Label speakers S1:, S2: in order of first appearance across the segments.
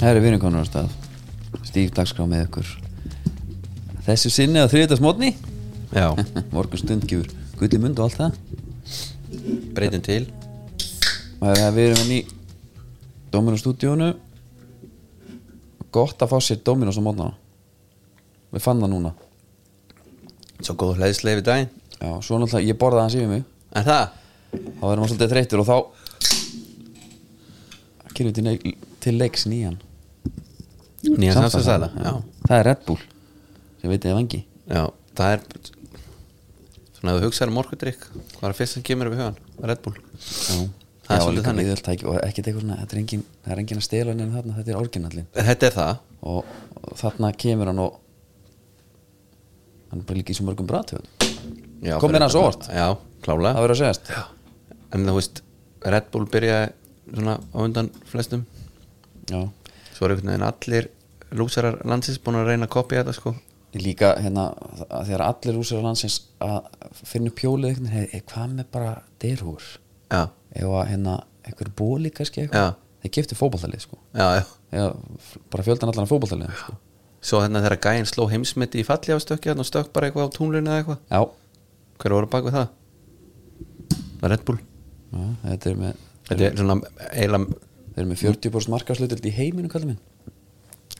S1: Það eru vinnu konar á stað Stíf dagskrá með ykkur Þessu sinni á þriðdagsmótni
S2: Já,
S1: Morgun stund gefur gulli mund og allt það
S2: breytum til
S1: Maður að við erum hann í Dominó stúdíónu Gott að fá sér Dominós á mótnana Við fann það núna
S2: Svo góð hlæðislega við daginn
S1: Já, svo náttúrulega ég borðaði hans yfir mig
S2: En það,
S1: Þá verður maður svolítið þreyttur og þá Kyrfið til, nei- til leiks nýjan
S2: nýja
S1: Samstarfsaðila,
S2: samstagsæla já.
S1: Það er Red Bull Sem veit ég vangi
S2: já, það er Svona að þú hugsaður um orkudrykk Hvað er fyrst sem kemur upp í hugan? Red Bull
S1: Já,
S2: Það er
S1: Já,
S2: svolítið
S1: líka
S2: þannig.
S1: auðvelt tæki og ekkert eitthvað svona, þetta er engin, það er engin að stela neina þarna, þetta er orginallin
S2: Þetta er það
S1: og, og þarna kemur hann og hann er bara líka í svo mörgum bratöð
S2: já,
S1: Kom mér hans óvart.
S2: Já,
S1: það
S2: klálega
S1: verður að segjast
S2: En þú veist, Red Bull byrjaði svona á undan flestum
S1: Já,
S2: Svo er einhvern veginn allir lúsarar landsins búin að reyna að kopja þetta sko
S1: líka hérna að þegar allir úsir á landsins að finna upp hjólið eitthvað, hey, hey, hvað með bara derhúr
S2: Já,
S1: eða hérna einhver bóli kannski
S2: Já.
S1: eitthvað þeir giftu fótboltalið sko
S2: já, já
S1: eða f- bara fjöldan allan af fótboltalið sko.
S2: Svo hérna þegar gæinn sló heimsmeti í falli á stökki Þannig stökk bara eitthvað á túnlunni eða eitthvað
S1: Já,
S2: Hver voru bak við það? Red Bull
S1: Já, þetta er með
S2: Þetta er svona eiginlega
S1: þeir eru með 40% markaðslutild í heiminu kallar minn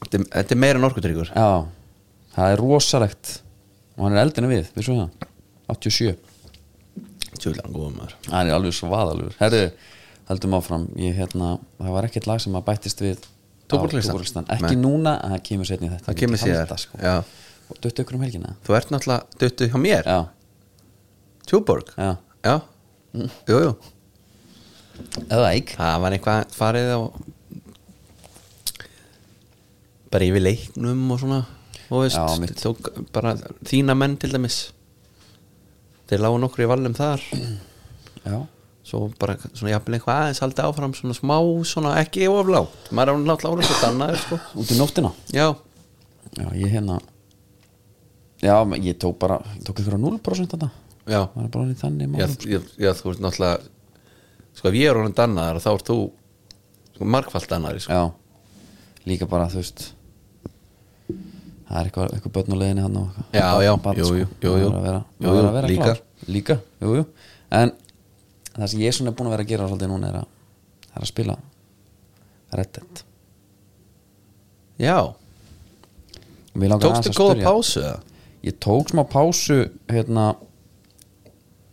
S2: Þetta er- þetta er meira en orkutryggur
S1: Já, það er rosalegt og hann er eldinu við, við svo það 87,
S2: Tjúlan góðum maður
S1: hann er alveg svaðalur Herðu, heldum áfram ég, hérna, það var ekkert lag sem að bættist við á
S2: Tóbaklistan?
S1: Tóbaklistan. ekki
S2: Nei.
S1: núna, en það kemur setni þetta
S2: Það kemur
S1: Ég myndi halda,
S2: síðar,
S1: sko.
S2: já.
S1: og döttu ykkur um helgina
S2: Þú ert náttúrulega duttu hjá mér
S1: já,
S2: Tjúborg
S1: já,
S2: Já Jú, jú
S1: eða eik
S2: Það var eitthvað farið á Bara yfir leiknum og svona Þú veist
S1: Já, mitt.
S2: tók bara þína menn til dæmis Þeir lágu nokkur í vallum þar
S1: já,
S2: Svo bara svona jafnvel eitthvað aðeins haldi áfram Svona smá, svona ekki oflátt Maður er hún látt lára svo dannaður sko
S1: út í nóttina
S2: Já,
S1: já, ég hérna já, ég tók bara ég tók ykkur á 0% þetta
S2: já
S1: maður er bara orðinn í þannig
S2: já,
S1: málum
S2: já, já, þú ert náttúrulega sko ef ég er honum dannaðar þá ert þú sko, markfald dannaðar sko.
S1: Já, líka bara þú veist Það er eitthvað, eitthvað börn á leiðinni hann og eitthvað.
S2: Já, já,
S1: Barn,
S2: jú,
S1: sko.
S2: jú, jú, jú.
S1: Það verður að vera,
S2: Jú,
S1: það verður
S2: jú,
S1: að vera
S2: líka.
S1: klár. Líka, jú, jú En það sem ég svona er búin að vera að gera svolítið núna er að, það er að spila Red Dead
S2: já,
S1: Og mig langar aðeins
S2: tókstu
S1: að
S2: góða
S1: spyrja-
S2: pásu eða?
S1: Ég tók smá pásu hérna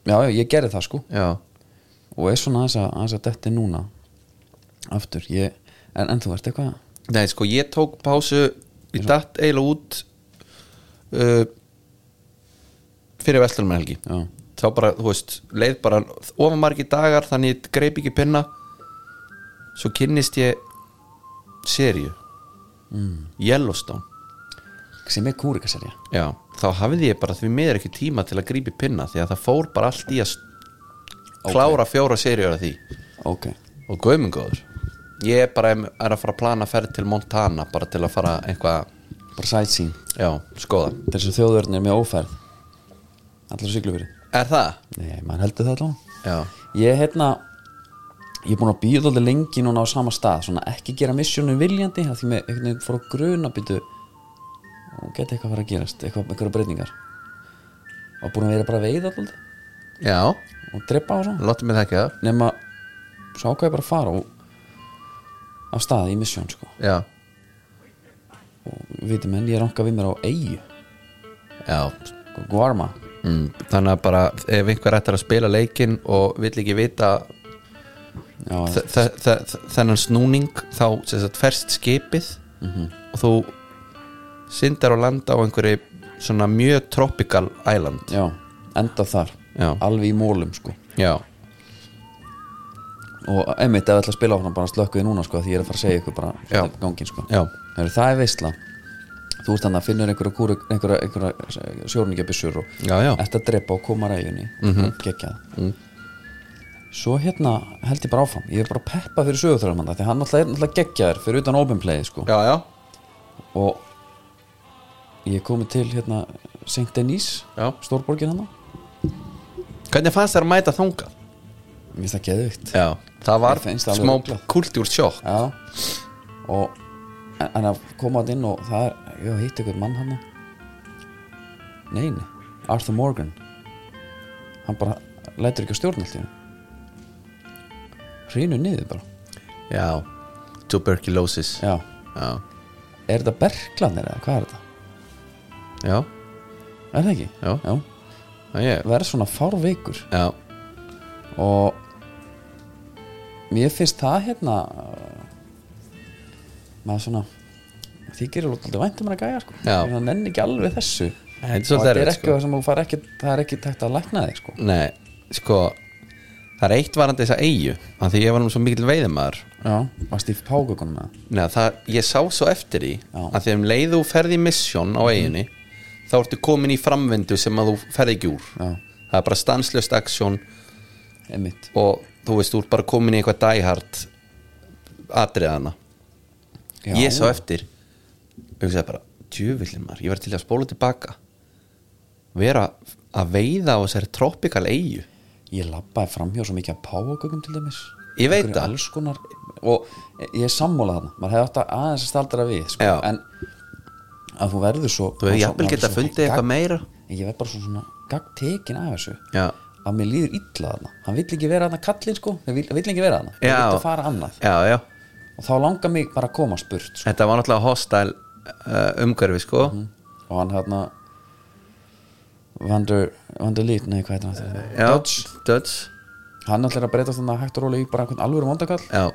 S1: Já, já, ég gerði það sko
S2: já,
S1: Og er svona aðeins að, aðeins að detti núna Aftur, ég En, en þú ert eitthvað
S2: nei sko ég tók pásu ég datt eiginlega út uh, fyrir vestlunumhelgi
S1: Já,
S2: þá bara, þú veist, leið bara ofamargi dagar þannig ég greip ekki pinna svo kynnist ég serju Mm. Yellowstone
S1: sem er kúrikaserja
S2: Já, þá hafði ég bara því miður ekki tíma til að grípi pinna því að það fór bara allt í að okay. klára fjóra seríur af því
S1: Ok,
S2: og gaumingóður ég er bara er að fara að plana að ferð til Montana bara til að fara eitthvað
S1: bara sightseeing
S2: já, skoða,
S1: Þetta er svo þjóðvörðin er mjög ófærð Allar siglufyrir
S2: er það?
S1: Nei, maður heldur það allavega
S2: Já,
S1: Ég er hérna Ég er búin að býða alltaf lengi núna á sama stað Svona ekki gera misjónu viljandi af Því með einhvern veginn fór að gruna býtu Og geti eitthvað að fara að gerast Eitthvað, eitthvað breytingar Og búin að vera bara að veiða alltaf
S2: já,
S1: Og drepa og svona
S2: láttu mig það ekki það
S1: Nefn að svo ákvað ég bara að fara og, Á stað í misjón sko
S2: Já,
S1: Og viti menn, ég ranka við mér á Eyju
S2: já
S1: Guarma
S2: mm, Þannig að bara ef einhver ættar að spila leikinn og vill ekki vita
S1: Já,
S2: þe- þe- þe- þe- þennan snúning þá sem sagt ferst skipið og þú syndar og landa á einhverju svona mjög tropical island
S1: já, enda þar
S2: Já.
S1: Alveg í mólum sko
S2: já,
S1: og einmitt ef ég ætla að spila á hana bara slökkuði núna sko því ég er að fara að segja ykkur bara
S2: Já.
S1: svolítið ganginn sko
S2: já,
S1: Heru, það er veistla þú ert hann að finnur einhverja, kúru, einhverja, einhverja sjórningjabissur og
S2: já, já. Mhm.
S1: ert að drepa og koma ræjunni mm -hmm. geggjað svo hérna held ég bara áfram ég er bara að peppa fyrir sögurþröðumanda því hann alltaf er alltaf geggjaður fyrir utan open play sko
S2: já, já,
S1: og ég er komið til hérna St. Denis
S2: já.
S1: stórborgin hann
S2: hvernig fannst þér að mæta þanga?
S1: mér finnst það geðvikt
S2: já, það var
S1: Mér finnst það alveg
S2: smá
S1: ruglað.
S2: kultúr sjokk
S1: Já og en, en að koma þetta inn og það er ég hitt eitthvað mann hann nein, Arthur Morgan hann bara lætur ekki að stjórna alltaf hrínu niður bara
S2: Já, tuberculosis
S1: já,
S2: Já,
S1: er þetta berglanir eða hvað er þetta?
S2: já,
S1: er það ekki?
S2: Já. já, ég,
S1: verð svona fárveikur
S2: já.
S1: og mér finnst það hérna uh, maður svona þykir alveg alltaf vænt um hann að gæja sko.
S2: Já.
S1: Ég nenni ekki alveg þessu
S2: Nei, þetta er
S1: Og
S2: svolítið
S1: þetta er
S2: erfitt,
S1: ekki,
S2: sko.
S1: sem þú fær ekki það er ekki tækt að lækna þig sko.
S2: Nei, sko Það er eitt varandi þess að eigu að Því ég var nú svo mikil veiðimaður
S1: já, var stíf págökunum með
S2: Nei, það, ég sá svo eftir því
S1: Já.
S2: að því um leið þú ferð í misjón á eiginni þá ertu komin í framvindu sem að þú ferð ekki úr
S1: Já.
S2: það er bara stanslöst aksjón
S1: það einmitt,
S2: og þú veist, þú ert bara komin í eitthvað dæhart atriðana
S1: Já.
S2: ég sá eftir hugsaði bara, djöfullin maður ég var til að spóla tilbaka vera að veiða á þessari tropikal eigu
S1: ég labbaði framhjá svo mikið að págökum til dæmis
S2: Ég veit
S1: Einhverju
S2: það.
S1: alls konar, og ég er sammála þarna maður hefði átt að aðeins að staldra við sko.
S2: Já.
S1: en að þú verður svo
S2: þú hefði
S1: maður-
S2: jafnvel
S1: maður er
S2: geta
S1: svo
S2: fundið
S1: gagn-
S2: eitthvað meira
S1: en ég verð bara svona, svona gaggtekin af þessu
S2: já,
S1: að mér líður illa þarna hann vill ekki vera þarna kallinn sko hann vill, vill ekki vera þarna, hann
S2: Já.
S1: vill að fara annað
S2: já, já
S1: og þá langar mig bara að koma spurt sko.
S2: þetta var náttúrulega hostile uh, umhverfi sko
S1: og hann hérna Vander, Vander Lít, nei hvað heitir hann
S2: já,
S1: Dodge,
S2: Dodge.
S1: hann ætlir að breytast þannig að hægt og róla í bara einhvern alvöru vondakall
S2: Já,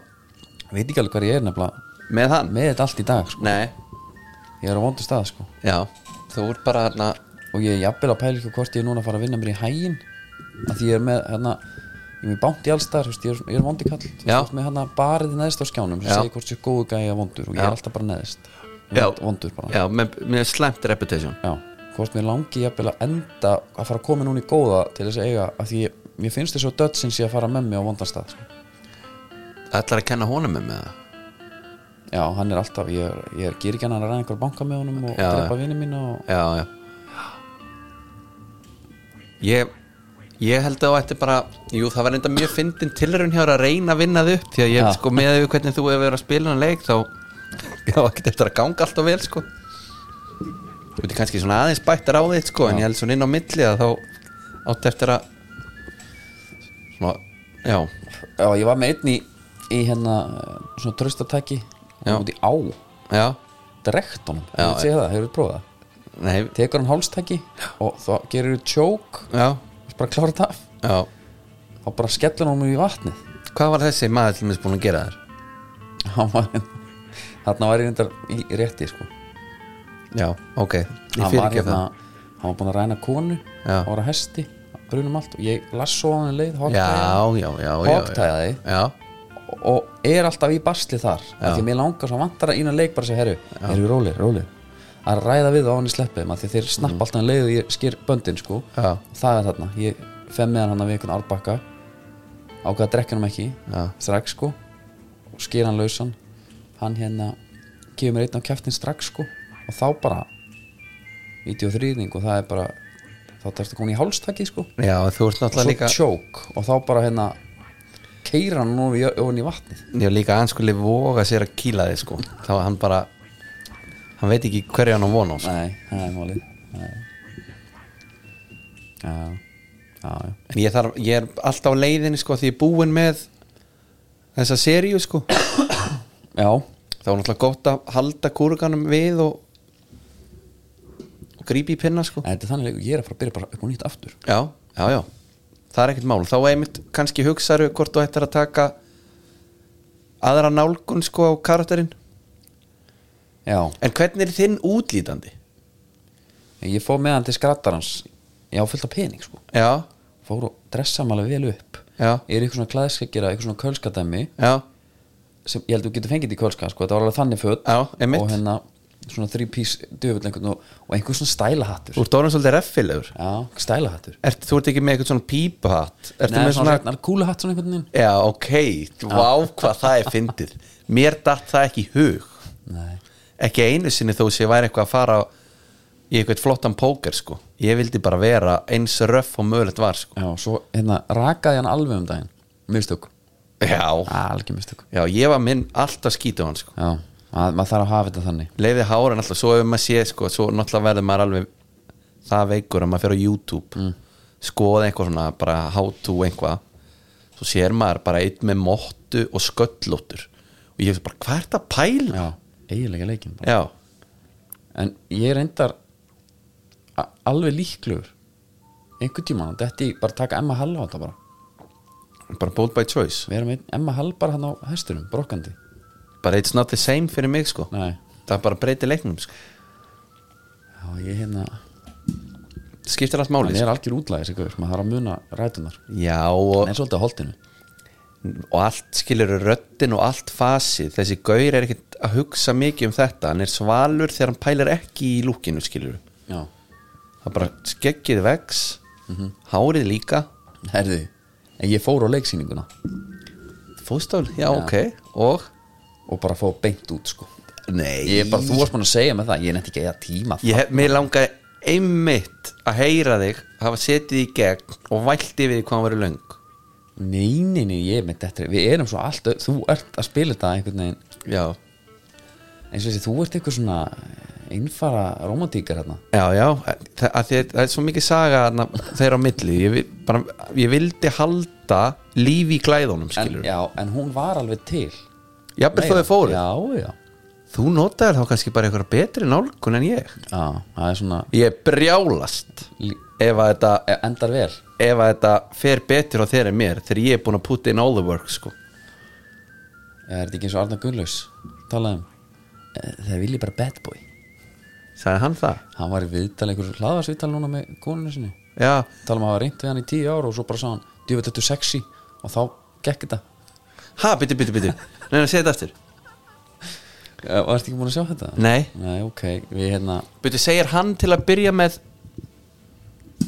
S1: veit ekki alveg hvað ég er nefnilega
S2: með hann
S1: með þetta allt í dag sko,
S2: Nei,
S1: ég er á vondu stað sko
S2: já, þú ert bara hérna
S1: og ég er jafnvel að pæla ekki hvort ég er núna að fara að vinna mér í hægin að því ég er með hérna ég er með bánt í allstar, veist, ég er, ég er vondi kall þú
S2: Já.
S1: veist, með hérna barið neðst á skjánum sem
S2: Já.
S1: segir hvort sér góðu gæja vondur og ég
S2: Já.
S1: er alltaf bara neðst
S2: Já.
S1: Vond- vondur bara já.
S2: Já, með, með slæmt reputation
S1: hvort mér langi jafnvel að enda að fara að koma núna í góða til þess að eiga að því ég, mér finnst þess að dödsinn sé að fara með mig á vondarstað sko.
S2: Ætlar að kenna honum með það
S1: já, hann er alltaf, ég er, ég er gýrgjarn að ræða einhver banka með honum og
S2: Já,
S1: drepa vini mína og,
S2: Já, já Ég, ég held að þú ætti bara Jú, það var enda mjög fyndin tilraun hjá þér að reyna að vinna þau upp Því að ég,
S1: Já.
S2: sko, með þau hvernig þú hefur verið að spila hann leik Þá, já, ekkert eftir að ganga alltaf vel, sko Þú veitir kannski svona aðeins bættar á þitt, sko En ég held svona inn á milli að þá átti eftir að Svona, já,
S1: já, ég var með einn í, í hérna eh, svona tröstatæki
S2: Já.
S1: út í á
S2: já
S1: drekt honum,
S2: Já,
S1: hefur sé það, hefur prófað það
S2: Nei,
S1: tekur hann hálstæki og þá gerir þú tjók
S2: já,
S1: bara klára þetta af,
S2: já
S1: þá bara skellur hann honum í vatnið
S2: Hvað var þessi maður til mér búin að gera þér?
S1: hann var
S2: hérna.
S1: þarna var ég reyndar í rétti sko.
S2: Já, ok, ég
S1: hann var
S2: fyrirgef
S1: hérna
S2: það
S1: hann var búin að ræna konu
S2: Já.
S1: og var að hesti, brunum allt og ég lasso hann í leið, hotæði
S2: Já, já, já, já
S1: Hogtaði.
S2: Já,
S1: og er alltaf í basli þar af því að mér langar svo vantar að ína leik bara að segja, herru, herru, rólir, rólir að ræða við á hann í sleppum af því að þeir snappa alltaf en leið og ég skýr böndin sko
S2: Mm. já,
S1: það er þarna, ég fem með hann við einhvern árbakka ákvað að drekja hann ekki
S2: Já.
S1: strax sko og skýr hann lausan hann hérna gefur mér einn á kjæftin strax sko og þá bara íti og þrýðning og það er bara þá þarfstu komin í hálstakki sko
S2: já, þú ert
S1: og svo
S2: náttúrulega líka
S1: tjók og þá bara hérna keira hann nú ofan í vatnið
S2: Já, líka að hann skulle voga sér að kýla þig sko Þá var hann bara Hann veit ekki hverju hann á von á sko.
S1: nei, það er málið Nei. já, já, já
S2: En ég, þarf, ég er alltaf á leiðinni sko Því ég er búinn með Þessa seríu sko Þá
S1: já,
S2: er náttúrulega gott að halda kúruganum við og Og grípi í pinna sko
S1: en þetta er þannig leikur, ég er að fara að byrja bara upp og nýtt aftur
S2: Já, já, já Það er ekkert mál, þá einmitt kannski hugsaðu hvort þú ættir að taka aðra nálgun sko á karakterinn
S1: já,
S2: En hvernig er þinn útlítandi?
S1: Ég fóð með hann til skrattarans Ég á fullt af pening sko
S2: Já,
S1: Fór og dressa hann alveg vel upp
S2: Já.
S1: Ég er í eitthvað svona klæðskeggera, eitthvað svona kölskadæmi
S2: já,
S1: sem ég held þú getur fengið í kölska sko, þetta var alveg þannig föt
S2: Já, Eh, einmitt.
S1: og hérna svona þrý pís döfull einhvern og, og einhver svona stælahattur
S2: þú ert orðin svolítið reffilegur
S1: Já, stælahattur
S2: Ert, Þú ert ekki með eitthvað svona pípuhatt Ertu
S1: Nei,
S2: með svona,
S1: svona kúlahatt svona einhvern veginn
S2: Já, ok, vá hvað það er fyndið Mér datt það ekki í hug
S1: Nei,
S2: Ekki einu sinni þó sé væri eitthvað að fara í eitthvað flottan póker sko Ég vildi bara vera eins röff og mögulegt var sko
S1: já, svo hérna rakaði ég hann alveg um daginn Mistök,
S2: Já,
S1: algjör mistök
S2: já ég var minn alltaf skítið hann sko
S1: Já, það maður mað þarf að hafa þetta þannig
S2: leiði háran alltaf, svo hefur maður sé sko, svo náttúrulega verður maður alveg það veikur að maður fer á YouTube skoða eitthvað svona, bara how to eitthvað, svo sér maður bara einn með móttu og sköllóttur og ég hef bara, hvað er þetta að pæla?
S1: já, eiginlega leikin bara.
S2: Já,
S1: en ég reyndar a- alveg líklegur einhvern tímann, þetta ég bara taka Emma Hall á þetta bara
S2: bara bold by choice
S1: við erum einn Emma Hall bara hann á hestunum, brokkandi
S2: bara it's not the same fyrir mig sko
S1: nei,
S2: það bara breytir leiknum sko,
S1: já, ég hérna
S2: það skiptir allt máli
S1: hann
S2: sko.
S1: er algjör útlæðis, eitthvað, maður þarf að muna rætunar
S2: Já, og,
S1: hann er svolítið á holdinu
S2: og allt skilur röddin og allt fasið, þessi gaur er ekkert að hugsa mikið um þetta, hann er svalur þegar hann pælar ekki í lúkinu skilur
S1: já,
S2: það bara skeggið vex hárið líka
S1: herðu, en ég fór á leiksýninguna
S2: fóstál, já, ok og
S1: og bara fór beint út sko
S2: nei,
S1: ég er bara, þú varst mann að segja með það, ég er nefnt ekki að eða tíma
S2: ég hef, mér langaði einmitt að heyra þig hafa setið í gegn og vælt yfir því hvað hann verið löng
S1: Nei, nei, nei, ég er með þetta Við erum svo allt, ö- þú ert að spila þetta einhvern veginn
S2: já,
S1: eins og þessi, þú ert eitthvað svona einfara romantíkar hérna
S2: já, já það, að því, að það er svo mikið saga þarna þeirra á milli ég, vi- bara, ég vildi halda lífi í glæðunum
S1: en,
S2: skilur
S1: Já, en hún var alveg til
S2: jafnvel þó
S1: Meira.
S2: þau fóru
S1: Já, já,
S2: þú notaðir þá kannski bara eitthvað betri nálgun en ég
S1: já, það er svona
S2: ég er brjálast
S1: lí-
S2: ef að þetta
S1: eh, endar vel
S2: ef að þetta fer betur á þér en mér þegar ég er búin að put in all the work sko.
S1: Er þetta ekki eins og Arna Gunnlaus talaði um eh, Það vilji bara bad boy
S2: sagði hann það
S1: Hann var í viðtal, einhver hlaðarsviðtal núna með konunni sinni
S2: já,
S1: Tala um að hafa reynt við hann í tíu ára og svo bara sá hann Djöfut, þetta er sexy og þá gekk þetta
S2: ha, byttu, byttu, byttu neina, segja þetta aftur
S1: Eh, Og ertu ekki búin að sjá þetta?
S2: nei,
S1: Nei, ok, við hérna
S2: byttu, segir hann til að byrja með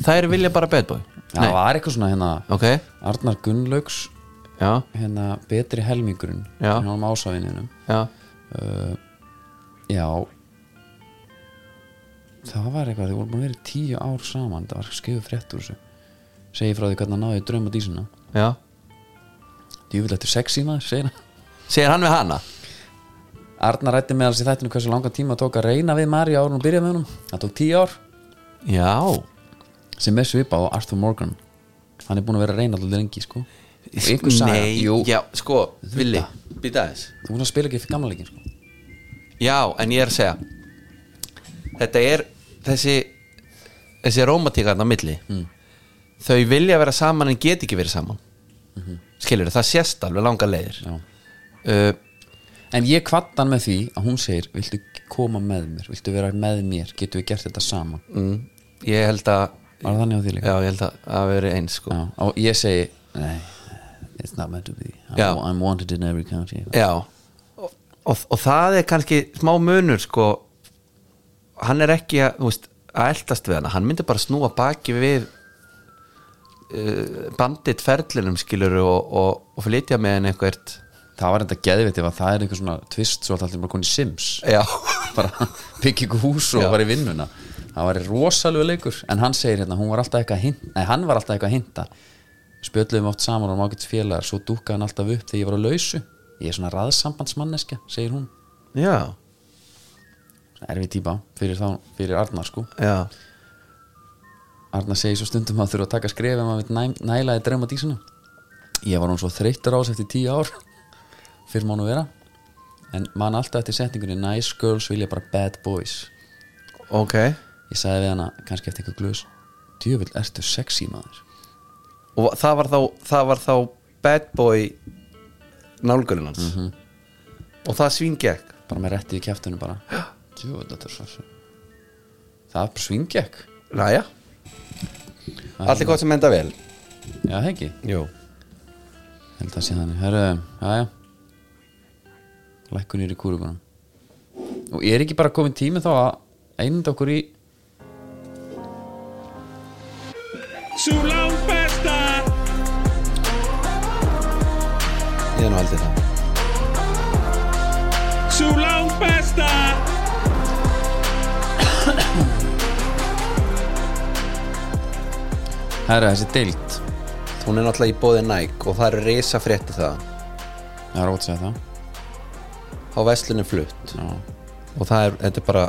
S2: þær vilja bara bad boy
S1: Það var eitthvað svona hérna
S2: ok,
S1: Arnar Gunnlaugs
S2: já,
S1: hérna betri helmingurinn
S2: Já.
S1: hann var ásafininum
S2: já
S1: uh, Já Það var eitthvað, þau voru búin að vera í tíu ár saman það var skrifu frétt úr þessu segi frá því hvernig hann náði í drauma dísina
S2: já,
S1: Ég vil eftir sexy maður, segir hann
S2: segir hann við hana
S1: Arnar rætti með hans í þættinu hversu langan tíma tók að reyna við Mari árun og byrja með honum það tók tíu ár
S2: já,
S1: sem er svipað á Arthur Morgan hann er búin að vera að reyna alltaf lengi sko Og einhver saga,
S2: nei,
S1: jú,
S2: já, sko villi, byttu aðeins
S1: þú búin að spila ekki fyrir gamla leikin sko.
S2: Já, en ég er að segja Þetta er þessi þessi rómatíkarna milli þau vilja vera saman en get ekki verið saman mm það sést alveg langa leiðir
S1: Já.
S2: uh,
S1: En ég kvatt hann með því að hún segir Viltu koma með mér, viltu vera með mér Getum við gert þetta saman
S2: mm, Ég held að
S1: Var það þannig á því líka?
S2: Já, ég held að það veri eins sko
S1: Já, Og ég segi Nei, it's not meant to be I'm,
S2: Já.
S1: I'm wanted in every county
S2: Já og, og, og það er kannski smá munur sko hann er ekki að, þú veist, að eldast við hana hann myndi bara snúa baki við uh, bandit ferlinum skilur og, og, og flytja með henni eitthvað
S1: Það var enda geðviti ef að það er einhver svona tvist Svo alltaf bara koni Sims
S2: Já,
S1: Bara byggja ykkur hús og
S2: Já.
S1: var í vinnuna Það var rosalega leikur En hann segir hérna, hún var alltaf eitthvað að hinta Nei, hann var alltaf eitthvað að hinta Spjöldluðum oft saman og mágætt félagar Svo dúkkaði hann alltaf upp þegar ég var á lausu Ég er svona raðsambandsmanneskja, segir hún
S2: já,
S1: erfið típa fyrir, þá, fyrir Arnar sko
S2: já
S1: Arnar segir svo stundum að þurfa að taka skref ef maður vill næ- næla í drauma dísina ég var hún svo þreyttur á þessu eftir tíu ár fyrir mánu vera en man alltaf eftir setningunni nice girls vilja bara bad boys
S2: Ok
S1: ég sagði við hana kannski eftir eitthvað glös djöfull ertu sexy maður
S2: Og það var þá, það var þá bad boy nálgurinn hans Og það svingekk
S1: bara með rétti í kjæftunum bara djöfull þetta er svo það er bara svingekk
S2: Næja Allir gott sem enda vel
S1: já það ekki
S2: Jú
S1: held að sé þannig Herru, aðja Lækkunir í kúrugunum Og er ekki bara komin tími þá að einund okkur í
S3: Sú langt besta
S2: Ég er nú aldrei það
S3: Sú langt besta
S1: Herra, þessi deild
S2: Hún er náttúrulega í bóði Nike og það eru risa frétti það
S1: Það er ótt að segja það
S2: á veslunum flutt
S1: Já.
S2: og það er, þetta er bara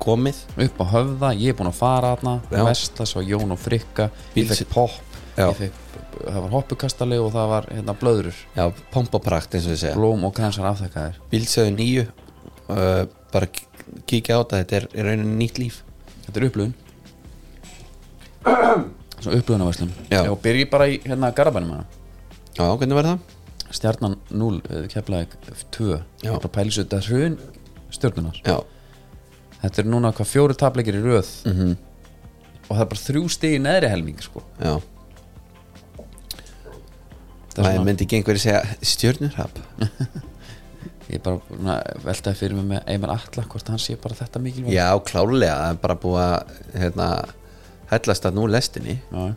S2: komið
S1: upp á höfða, ég er búin að fara þarna
S2: Já.
S1: vestla, svo Jón og Frikka ég
S2: Bílsi-
S1: fekk popp,
S2: Já.
S1: ég fekk það var hoppukastali og það var hérna blöðrur
S2: já, pompaprakt eins og við segja
S1: blóm og kransar afþakkaðir
S2: bílsöðu nýju uh, bara k- kíkja á þetta, þetta er, er rauninni nýtt líf
S1: þetta er upplöðun svo upplöðunarverslun
S2: Já.
S1: og byrji bara í hérna garabænum hana
S2: já, hvernig verður það?
S1: stjarnan 0, keflaðið 2 ég
S2: Já.
S1: er bara að pæla í þessu, þetta er hrun stjörnunar
S2: já,
S1: þetta er núna hvað fjóri tapleikir í röð -hmm.
S2: Mhm.
S1: og það er bara þrjú stig í neðri helming sko.
S2: já
S1: Það er
S2: það
S1: svona-
S2: myndi ekki einhverju segja stjörnurhap
S1: ég er bara na, veltaði fyrir mig með Eymar Atla hvort hann sé bara þetta mikilvæg
S2: já, klálega, það er bara búið að hérna, hellast að nú lestinni
S1: Já.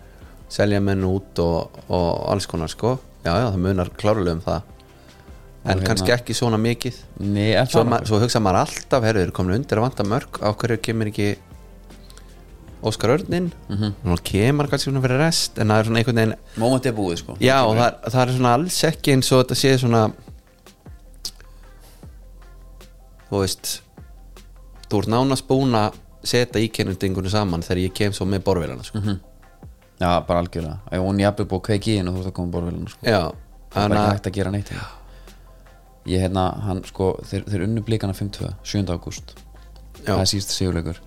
S2: selja menn út og, og alls konar sko já, já, það munar klárulega um það en
S1: Og
S2: kannski
S1: hérna-
S2: ekki svona mikið
S1: Nei, er
S2: svo,
S1: það
S2: ma- svo hugsa maður alltaf, herru, þeir eru komin undir að vanta mörg á hverju kemur ekki Óskar Örnin
S1: Mhm.
S2: nú kemur kannski svona fyrir rest en það er svona einhvern veginn
S1: Moment er búið sko
S2: já, og það, er- það er svona alls ekki eins og þetta sé svona þú veist þú ert nánast búin að setja íkennendingunni saman þegar ég kem svo með borvelana sko.
S1: Já, bara algjörlega Ef hún jafnir búið að kveiki í henn og þú ert að koma borvelin sko.
S2: já,
S1: Það er
S2: þannig
S1: bara ekki
S2: að
S1: hægt að gera neitt hérna. Ég hérna, hann sko Þeir, þeir unnu blikana 5-2, 7. ágúst
S2: Já.
S1: Það er síðust sigurleikur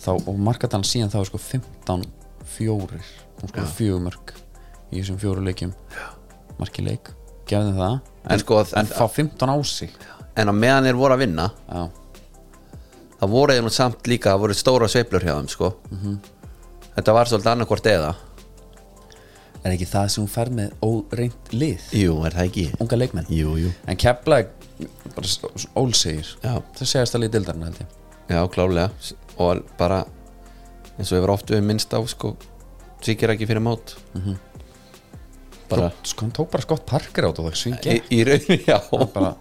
S1: Þá, og markatan síðan þá er sko 15-4 Hún sko fjögumörk Í þessum fjóru leikjum Já. Marki leik, gefði það En,
S2: En sko,
S1: en,
S2: en-
S1: fá 15 á sig
S2: en á meðan þeir voru að vinna
S1: Já,
S2: það voru þeir nú samt líka, það voru stóra sveiflur hjá þeim sko þetta var svolítið annarkvort eða
S1: er ekki það sem hún fer með óreint lið
S2: jú, er það ekki
S1: unga leikmenn
S2: jú, jú,
S1: en Keflæk bara s- s- ólsegir
S2: já,
S1: það segast alveg í dildarinn held ég
S2: já klálega og bara eins og hefur oft við minnst á sko svíkir ekki fyrir mót
S1: Mhm.
S2: bara
S1: Tók- sko, hann tók bara skott parker át og það svingi
S2: í, í raun, já
S1: bara,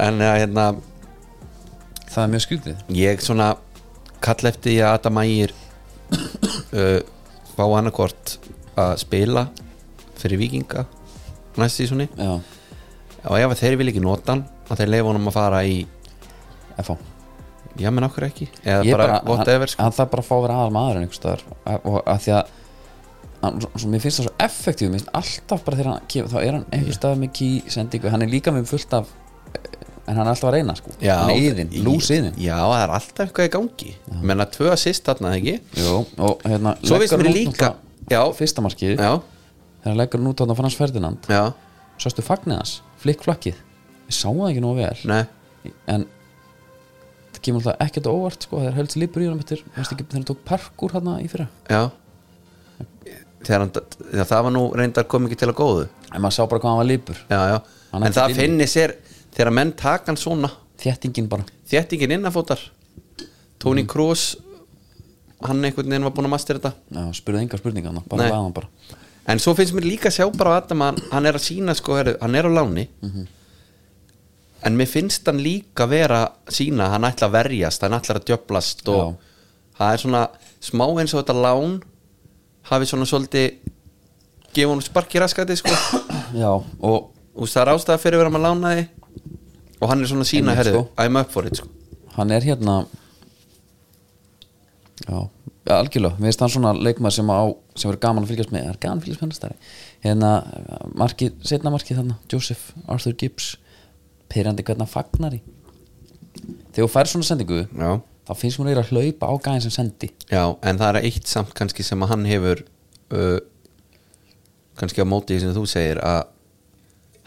S2: en eh, hérna,
S1: það er mjög skrítið
S2: ég svona kalla eftir því að Adam Ægir uh, fá annarkvort að spila fyrir vikinga næst sísunni
S1: já,
S2: og ef að þeir vil ekki nota hann að þeir leifa honum að fara í
S1: FH
S2: já menn okkur ekki eða
S1: Ég
S2: bara, whatever
S1: hann,
S2: sko.
S1: hann þarf bara að fá að vera aðal maður en einhvers staðar og og að því að hann, svo, svo, mér finnst það svo effektív mér finnst alltaf bara þegar hann kemur þá er hann einhvers staðar með ký sendingu hann er líka með fullt af en hann er alltaf að reyna sko
S2: já,
S1: hann er yðin, lús yðin
S2: já það er alltaf eitthvað í gangi menna tvö assist þarna ekki
S1: Jó, og hérna
S2: svo
S1: leggur
S2: veist mér
S1: hann út
S2: líka
S1: náttúrulega-
S2: já,
S1: fyrsta markið
S2: já,
S1: þegar hann leggur hann út á þannig Frans Ferdinand
S2: já,
S1: sástu fagnið hans, flikkflakkið ég sá það ekki nógu vel
S2: nei
S1: en það kemur alltaf ekkert á óvart sko, þegar hölds lípur í hann eftir manstu ekki, þegar hann tók parkur hann í fyrra
S2: já þegar hann, já, það var nú reyndar kom ekki til að góðu
S1: en maður sá bara hvað hann var lípur
S2: já, já,
S1: Hann
S2: en
S1: ætti
S2: það
S1: inni.
S2: finni sér þegar menn taka hann svona
S1: þéttingin bara
S2: þéttingin innanfótar Tony
S1: Mm.
S2: Kroos hann einhvern veginn var búin að mastera þetta
S1: Já, spurði enga spurninga hann bara
S2: Nei.
S1: laði hann bara
S2: En svo finnst mér líka sjá bara á Adam að hann, hann er að sína sko, heru, hann er á láni
S1: Mhm.
S2: en mér finnst hann líka vera sína, hann ætla að verjast hann ætla að djöblast og
S1: Já.
S2: það er svona smá eins og þetta lán hafi svona svolítið gefa hann sparki raskati sko
S1: já, og
S2: og það er ástæða fyrir að vera með lánaði og hann er svona að sína,
S1: Einmitt,
S2: herðu,
S1: sko.
S2: I'm up for it sko.
S1: hann er hérna já, ja, algjörlega við veist hann svona leikmaður sem á sem er gaman að fylgjast með, er gaman að fylgjast með hann stærri hérna, markið, setna markið þarna Joseph Arthur Gibbs pyrrandi hvernig hann fagnar í þegar þú fær svona sendingu
S2: Já.
S1: þá finnst mér að vera að hlaupa á gæðin sem sendi
S2: Já, en það er eitt samt kannski sem að hann hefur uh, kannski á móti því sem þú segir að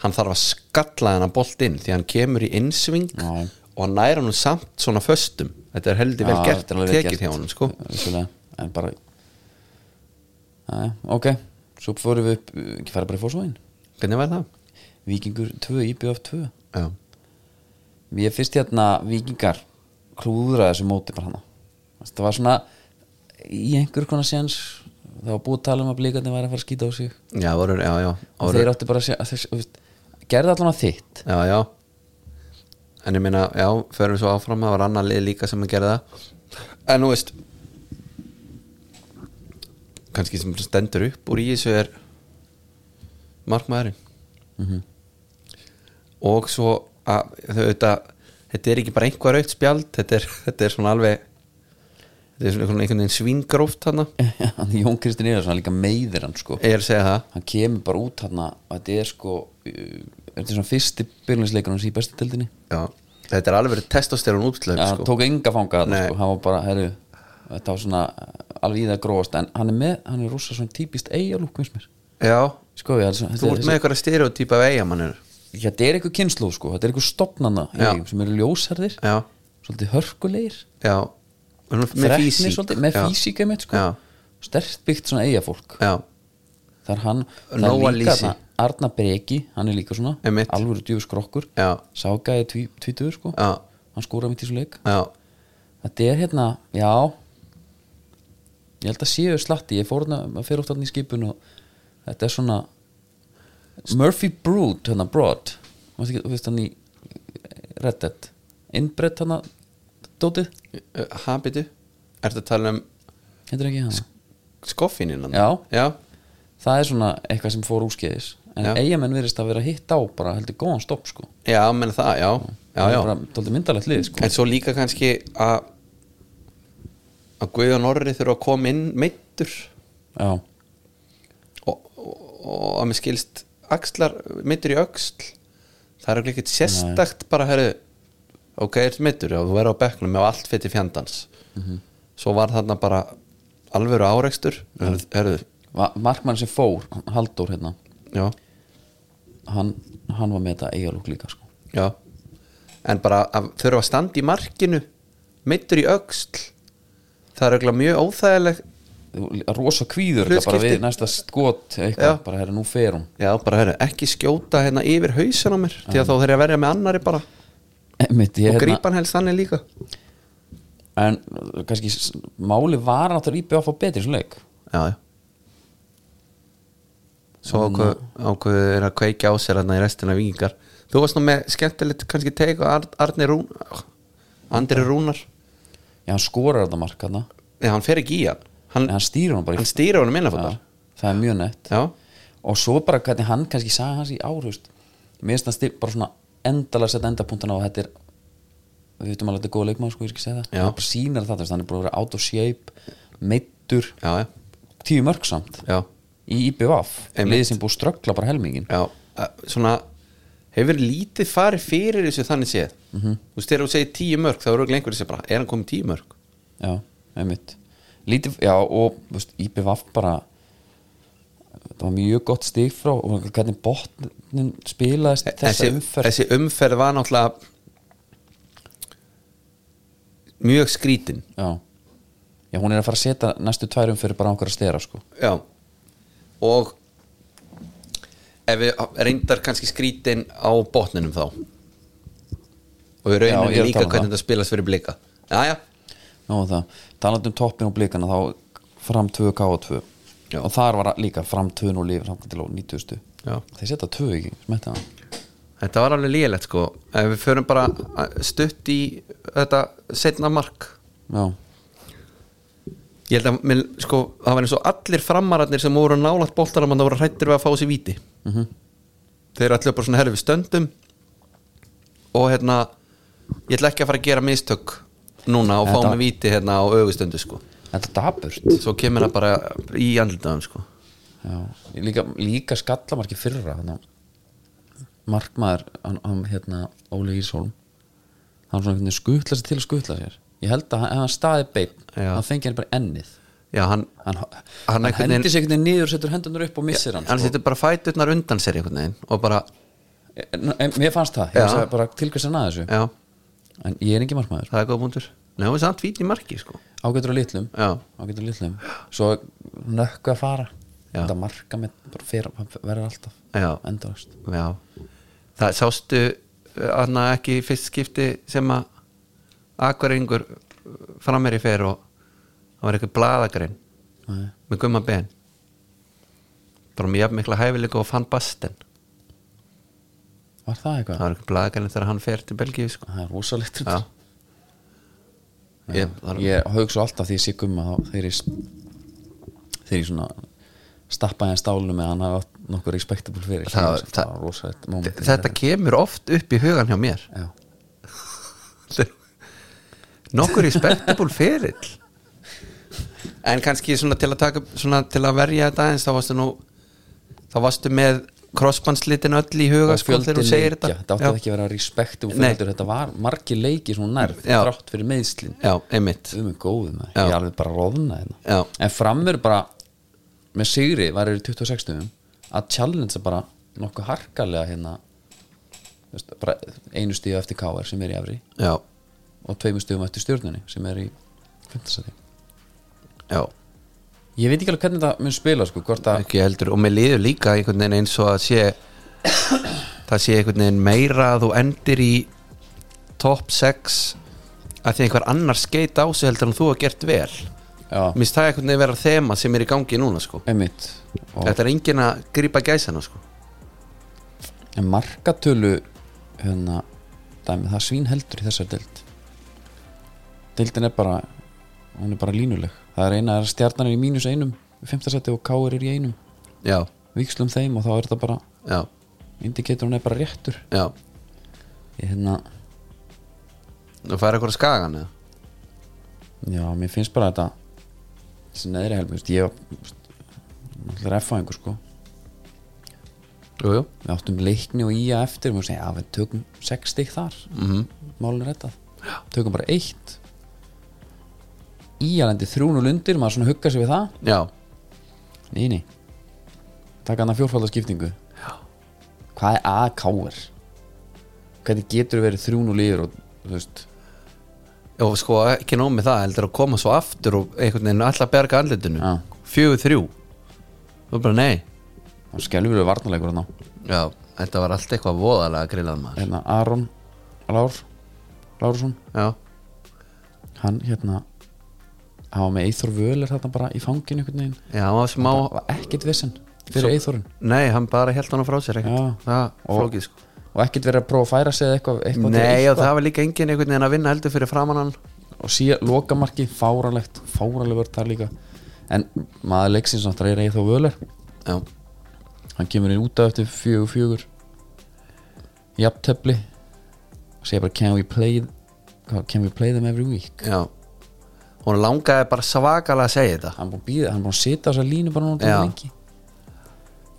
S2: hann þarf að skalla hann að bolt inn því hann kemur í innsving
S1: Já.
S2: og hann næra hann samt svona föstum þetta er heldur vel
S1: Já,
S2: gert,
S1: þetta er alveg vel
S2: tekið
S1: gert.
S2: hjá hann sko.
S1: Vissulega, en bara Æ, ok, svo fórum við upp ekki fara bara í fórsvæðin
S2: Hvernig væri það?
S1: Víkingur 2, IBF 2
S2: Já,
S1: Mér finnst hérna Víkingar klúðra þessu móti bara hana Það var svona í einhver konar séns það var búið að tala um að blíkandi væri að fara að skýta á sig
S2: já, voru, já, já,
S1: og
S2: voru,
S1: þeir áttu bara að segja að þeir- þú veist, gerðu allan að þitt
S2: já, já En ég meina, já, förum við svo áfram það var annar lið líka sem að gera það En nú veist kannski sem stendur upp úr í þessu er Mhm. markmaðurinn og svo að þau auðvitað þetta er ekki bara einhver aukt spjald þetta er, þetta er svona alveg þetta er svona einhvern einhvern veginn svíngróft hann
S1: Jón Kristinn Eðarsson hann líka meiðir hann sko
S2: ég er að segja það
S1: hann kemur bara út hann og þetta er sko uh, þetta er svona fyrsti byrjulegsleikur hans í bestu tildinni
S2: Já. þetta er alveg verið testosterun útslöf
S1: hann
S2: sko.
S1: tók enga fanga þarna,
S2: Nei.
S1: sko. hann var bara, herru þetta var svona uh, alveg í það gróðast en hann er með, hann er rúsa svona típist eiga lúk veist mér
S2: já,
S1: sko, ég, þessi,
S2: þú ert með eitthvað stereotýpa af eigamannur
S1: Já, þetta er eitthvað kynslu sko, þetta er eitthvað stopnana
S2: Já.
S1: eigum sem eru ljósherðir,
S2: já,
S1: svolítið hörkulegir
S2: já með
S1: þreknir
S2: físík.
S1: svolítið, með
S2: Já.
S1: físík einmitt sko,
S2: Já.
S1: sterkt byggt svona eiga fólk
S2: já,
S1: það er hann, það
S2: Nóa
S1: er líka
S2: Lýsi.
S1: þarna Arna Breki, hann er líka svona
S2: Einmitt.
S1: alvöru djöfus krokkur,
S2: já,
S1: ságæði tví- tvítugur sko,
S2: já,
S1: hann skóra mitt í svo leik
S2: já
S1: þetta er hérna, já ég held að séu slatti ég fór hérna, fyrir oft hann í skipun og þetta er svona Murphy Brood, hérna Broad Manstu ekki, þú veist hann í Red Dead, innbrett hann dótið,
S2: habitu, Uh, ertu að tala um
S1: hendur ekki hann
S2: skoffinin hann?
S1: Já.
S2: já,
S1: það er svona eitthvað sem fór úskeiðis en
S2: Já.
S1: eigamenn verðist að vera hitt á bara heldur góðan stopp sko
S2: já, menn það, já, já,
S1: það
S2: já
S1: er bara tóldi myndalegt lið sko
S2: en svo líka kannski að að Guðjón Orri þurfa að koma inn meittur
S1: já,
S2: og, og, og að mér skilst axlar, meittur í öxl það er örugglega ekkert sérstakt bara herri, ok, ert meittur og þú er á bekknum með allt fyrir fjandans
S1: Mhm.
S2: svo var þarna bara alvöru árekstur herri, herri,
S1: Va- markmann sem fór, Haldur hérna
S2: já,
S1: hann, hann var með þetta eigalúk líka sko
S2: já en bara að þurfa að standa í markinu meittur í öxl það er örugglega mjög óþægileg
S1: rosa kvíður þetta bara
S2: Hlutskipti.
S1: við næsta skot eitthvað,
S2: Já.
S1: bara herra nú fer hún
S2: Já, bara herri, ekki skjóta hérna yfir hausin á mér því að þá þeir ég að verja með annari bara
S1: Einmitt, ég,
S2: og
S1: hérna,
S2: grípan helst þannig líka
S1: en uh, kannski s- máli var náttúrulega íbjöð að fá betri í þessum leik
S2: Já, já Svo ákveð,
S1: eh,
S2: ákveðu er að kveikja á sér hérna í restina vikingar Þú varst nú með skemmtilegt kannski teik og Ar Arni Rún Andri Rúnar
S1: já, hann skorar þetta mark hann en
S2: Nei, hann fer ekki í hann Hann,
S1: hann stýrir hann bara í
S2: hann stýra honum
S1: Já,
S2: innafóttar
S1: það er mjög nett
S2: Já,
S1: og svo bara hvernig hann kannski sagði hans í áhrust mér finnst það stil bara svona endalega sett endapunktan á að þetta er við veitum alveg að þetta er góð leikmaður sko, ég skal segja það
S2: Já.
S1: hann bara sýnar það, þú veist, hann er bara að vera out of shape meittur,
S2: já, já,
S1: tíu mörg samt
S2: já,
S1: í IBVF,
S2: Einmitt.
S1: liðið sem búið að ströggla bara helmingin
S2: já. Að- Svona, hefur lítið farið fyrir þessu þannig séð
S1: Mhm.
S2: Þú styrir og segir tíu mörg þá eru ekki lengur þessi bara, er hann komið tíu mörg?
S1: já, einmitt lítið, já, og þú veist, IBVF bara það var mjög gott stig frá og hvernig botnin spilaðist
S2: E,
S1: þessa
S2: þessi
S1: umferð
S2: þessi umferð var náttúrulega mjög skrítin
S1: já. já, hún er að fara að setja næstu tvær umferð bara á okkur að stera sko
S2: já. og ef við reyndar kannski skrítin á botninum þá og
S1: Já,
S2: við
S1: ég er
S2: rauninni
S1: að
S2: líka
S1: tala um
S2: hvernig
S1: það.
S2: þetta spilast fyrir blika já, já,
S1: Nú er það, talandi um toppin og blikana þá fram 2K og 2
S2: Já.
S1: og þar var líka fram 2 og lífur hann til á 90
S2: já.
S1: þeir setja 2 ekki, smetta það
S2: þetta var alveg lígilegt sko ef við förum bara stutt í þetta setna mark
S1: Já,
S2: ég held að mér, sko, það var eins og allir framararnir sem voru nálaðt boltanum að það voru hrættir við að fá sér víti
S1: Mhm.
S2: þeir allir bara svona herfi við stöndum og hérna ég ætla ekki að fara að gera mistök núna og fá
S1: Þetta-
S2: mig víti hérna á augustöndu sko.
S1: þetta er daburt
S2: svo kemur það bara í andlitaðum sko.
S1: Já, líka, líka skallamarki fyrra þannig. markmaður hann, hann hérna Óli Ísholm hann svona einhvern veginn skutla sér til að skutla sér ég held að hann- ef hann staði beip
S2: Já.
S1: hann fengi hann bara ennið
S2: já, hann,
S1: hann,
S2: Hann
S1: hann,
S2: einhvern
S1: hendi sér einhvern veginn niður og setur hendunar upp og missir hann, sko.
S2: hann setur bara fæturnar undan sér einhvern veginn og bara,
S1: En- en mér fannst það,
S2: Já.
S1: ég sagði bara tilkvæmst hann að þessu
S2: já,
S1: en ég er ekki markmaður
S2: það er góð búndur Nei, hún er samt víti í marki sko.
S1: ágætur á litlum
S2: já,
S1: ágætur litlum svo nökku að fara
S2: Já.
S1: þetta marka með bara fer, hann verður alltaf
S2: já
S1: endalast
S2: Já Það sástu aðna ekki í fyrst skipti sem að akvarengur frammer í fer og það var eitthvað blaðagrinn
S1: Nei.
S2: með gumma ben bara með jafn mikla hæfileika og fann basten
S1: var það
S2: það
S1: eitthvað?
S2: var eitthvað blaðagrinn þegar hann fer til Belgíu sko.
S1: það er rosalegt
S2: Já Ég, það,
S1: ég haug svo alltaf því ég sé gumma þá þegar ég þegar ég svona stappa henni stálinu með hann hafa átt nokkuð respectable fyrir
S2: Það-
S1: Ég veist,
S2: það-
S1: var rosalegt moment.
S2: Þetta kemur oft upp í hugan hjá mér
S1: Já.
S2: Nokkur respectable ferill En kannski svona til að taka svona til að verja þetta eins þá varstu nú þá varstu með crossbandslitin öll í huga
S1: og
S2: sko þegar
S1: fjöldi
S2: þú segir
S1: leikja,
S2: þetta
S1: þetta átti
S2: Já.
S1: ekki að vera respectable
S2: Nei.
S1: fjöldur, þetta var margir leiki svona nærð
S2: Já.
S1: þrátt fyrir meðslin
S2: Já, einmitt
S1: um en góðum, ég
S2: Já.
S1: er alveg bara rofna hérna.
S2: Já.
S1: en framur bara með Sigri var eru 26 stundum að challenge bara nokkuð harkalega hérna þú veist, bara einu stíu eftir KR sem er í efri
S2: Já,
S1: og tveimur stíum eftir stjórnunni sem er í 5. seti
S2: já,
S1: ég veit ekki alveg hvernig þetta mun spila sko, hvort að
S2: ekki heldur og mér líður líka einhvern veginn eins og að sé það sé einhvern veginn meira að þú endir í top 6 að því einhver annar skeit á sig heldur en þú að gert vel
S1: já,
S2: Mér stæði einhvern veginn vera þema sem er í gangi núna sko.
S1: einmitt og
S2: Þetta er enginn að grípa gæsana sko.
S1: En markatölu hérna, dæmi, það svín heldur í þessar deild Deildin er bara hún er bara línuleg Það er eina er stjarnan er í mínus einum í fimmtarsætti og káir er í einum
S2: Já,
S1: Víkslum þeim og þá er þetta bara
S2: já,
S1: indikatorun er bara réttur
S2: já
S1: Ég hérna,
S2: Þú færi eitthvað skagan eða?
S1: já, mér finnst bara þetta þessi neðri helmi, veist, ég þú veist, náttúrulega er F-fæðingur sko
S2: Jú, jú
S1: Við áttum leikni og ía eftir og segja, já, við tökum sex stík þar mm -hmm. Málun er rettað Tökum bara eitt Ía lendi þrún og lundir, maður svona hugga sig við það
S2: Já,
S1: Nei, nei Taka hann að fjórfaldarskiptingu já. Hvað er AKR? Hvernig getur verið þrún og liður og, þú veist,
S2: og sko ekki nóg með það heldur að koma svo aftur og einhvern veginn alltaf berga andlitinu
S1: Já.
S2: Fjögur þrjú Þú bara nei
S1: hann skelfur við varnarleikur hann á
S2: Já, þetta var allt eitthvað voðalega grillað maður
S1: Hérna, Aron Lár Lárusson,
S2: Já,
S1: hann hérna hann var með Eithor Völer þarna bara í fanginu einhvern veginn,
S2: já, hann var smá
S1: það var ekkit vissin fyrir
S2: Svo-
S1: Eithorin
S2: Nei, hann bara held hann frá sér
S1: Já.
S2: ekkert Það
S1: Og-
S2: flókið sko
S1: og ekkert verið að prófa að færa sig eða eitthvað, eitthvað til
S2: Nei, og
S1: eitthvað.
S2: það var líka enginn einhvern veginn að vinna heldur fyrir framan hann
S1: og síðan lokamarki, fáralegt fáraleg vörð þar líka en maður leiksins náttúrulega er Eithó Völer
S2: Já,
S1: hann kemur inn út af eftir fjögur fjögur jafntefli og segja bara can we play hvað, can we play them every week
S2: já Hún langaði bara svakalega að segja þetta
S1: hann búið að býða, hann búið að sita á þessa línu bara núna til
S2: Já.
S1: lengi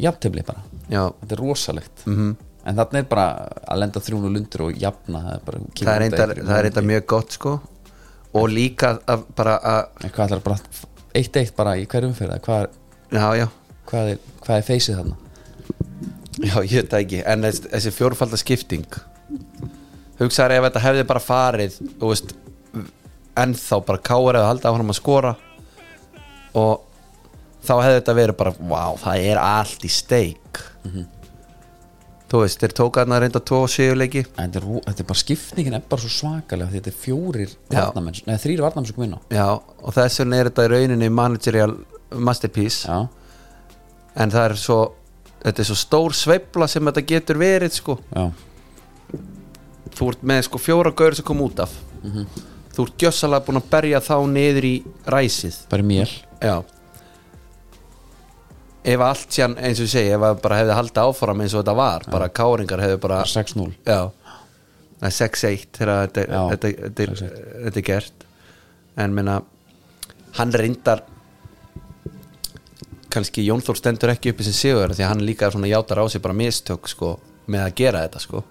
S1: jafntefli bara,
S2: Já,
S1: þetta er rosalegt
S2: Mhm.
S1: -hmm. en þarna er bara að lenda þrjúnu lundur og jafna það er bara
S2: það er reyndar, það er reyndar mjög gott sko og líka að bara að
S1: en hvað ætlar bara eitt eitt bara í hverjum fyrir það hvað er,
S2: já, já,
S1: hvað er, hvað er feysið þarna
S2: já, ég veit það ekki en þessi, þessi fjórfalda skipting hugsaður ef þetta hefði bara farið þú veist ennþá bara káur eða halda áfram að skora og þá hefði þetta verið bara, wow, það er allt í steik þú veist, þeir tók aðna reynda tvo síðuleiki
S1: En þetta er, ro- þetta er bara skipningin er bara svo svakalega því þetta er fjórir
S2: Já.
S1: varnamenn neða þrýri varnamenn sem kom inn á
S2: já, og þess vegna er þetta í rauninni managerial masterpiece
S1: já,
S2: en það er svo þetta er svo stór sveifla sem þetta getur verið sko.
S1: já,
S2: þú ert með sko fjóra gaur sem kom út af þú ert gjössalega búin að berja þá niður í ræsið
S1: bara í mél
S2: já ef allt síðan eins og ég segi ef það bara hefði haldið áfram eins og þetta var bara káringar hefði bara
S1: 6-0
S2: já, Nei, 6-1 þegar þetta,
S1: Já,
S2: þetta, þetta, er-
S1: 6-1.
S2: þetta er gert en minna hann reyndar kannski Jón Þór stendur ekki uppi sem sigur því að hann líka svona játar á sig bara mistök sko, með að gera þetta sko.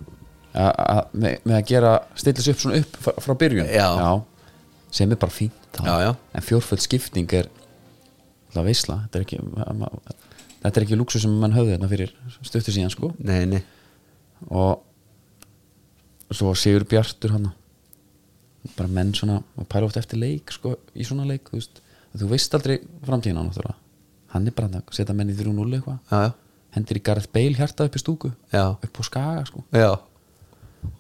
S1: A- a- með, með að gera stilla sig upp svona upp frá, frá byrjun
S2: Já.
S1: sem er bara fínt þá.
S2: Já, já.
S1: en fjórföld skipning er það veisla þetta er ekki, ma- ma- þetta er ekki lúksu sem mann höfði þarna fyrir stuttu síðan sko
S2: nei, nei,
S1: og svo Sigur Bjartur hann bara menn svona og pæla oft eftir leik sko, í svona leik þú veist, að þú veist aldrei framtíðina náttúrulega hann er bara að setja menn í 3-0 eitthvað
S2: já, já,
S1: hendir í Gareth Bale hjarta upp í stúku
S2: já,
S1: upp á skaga sko
S2: já,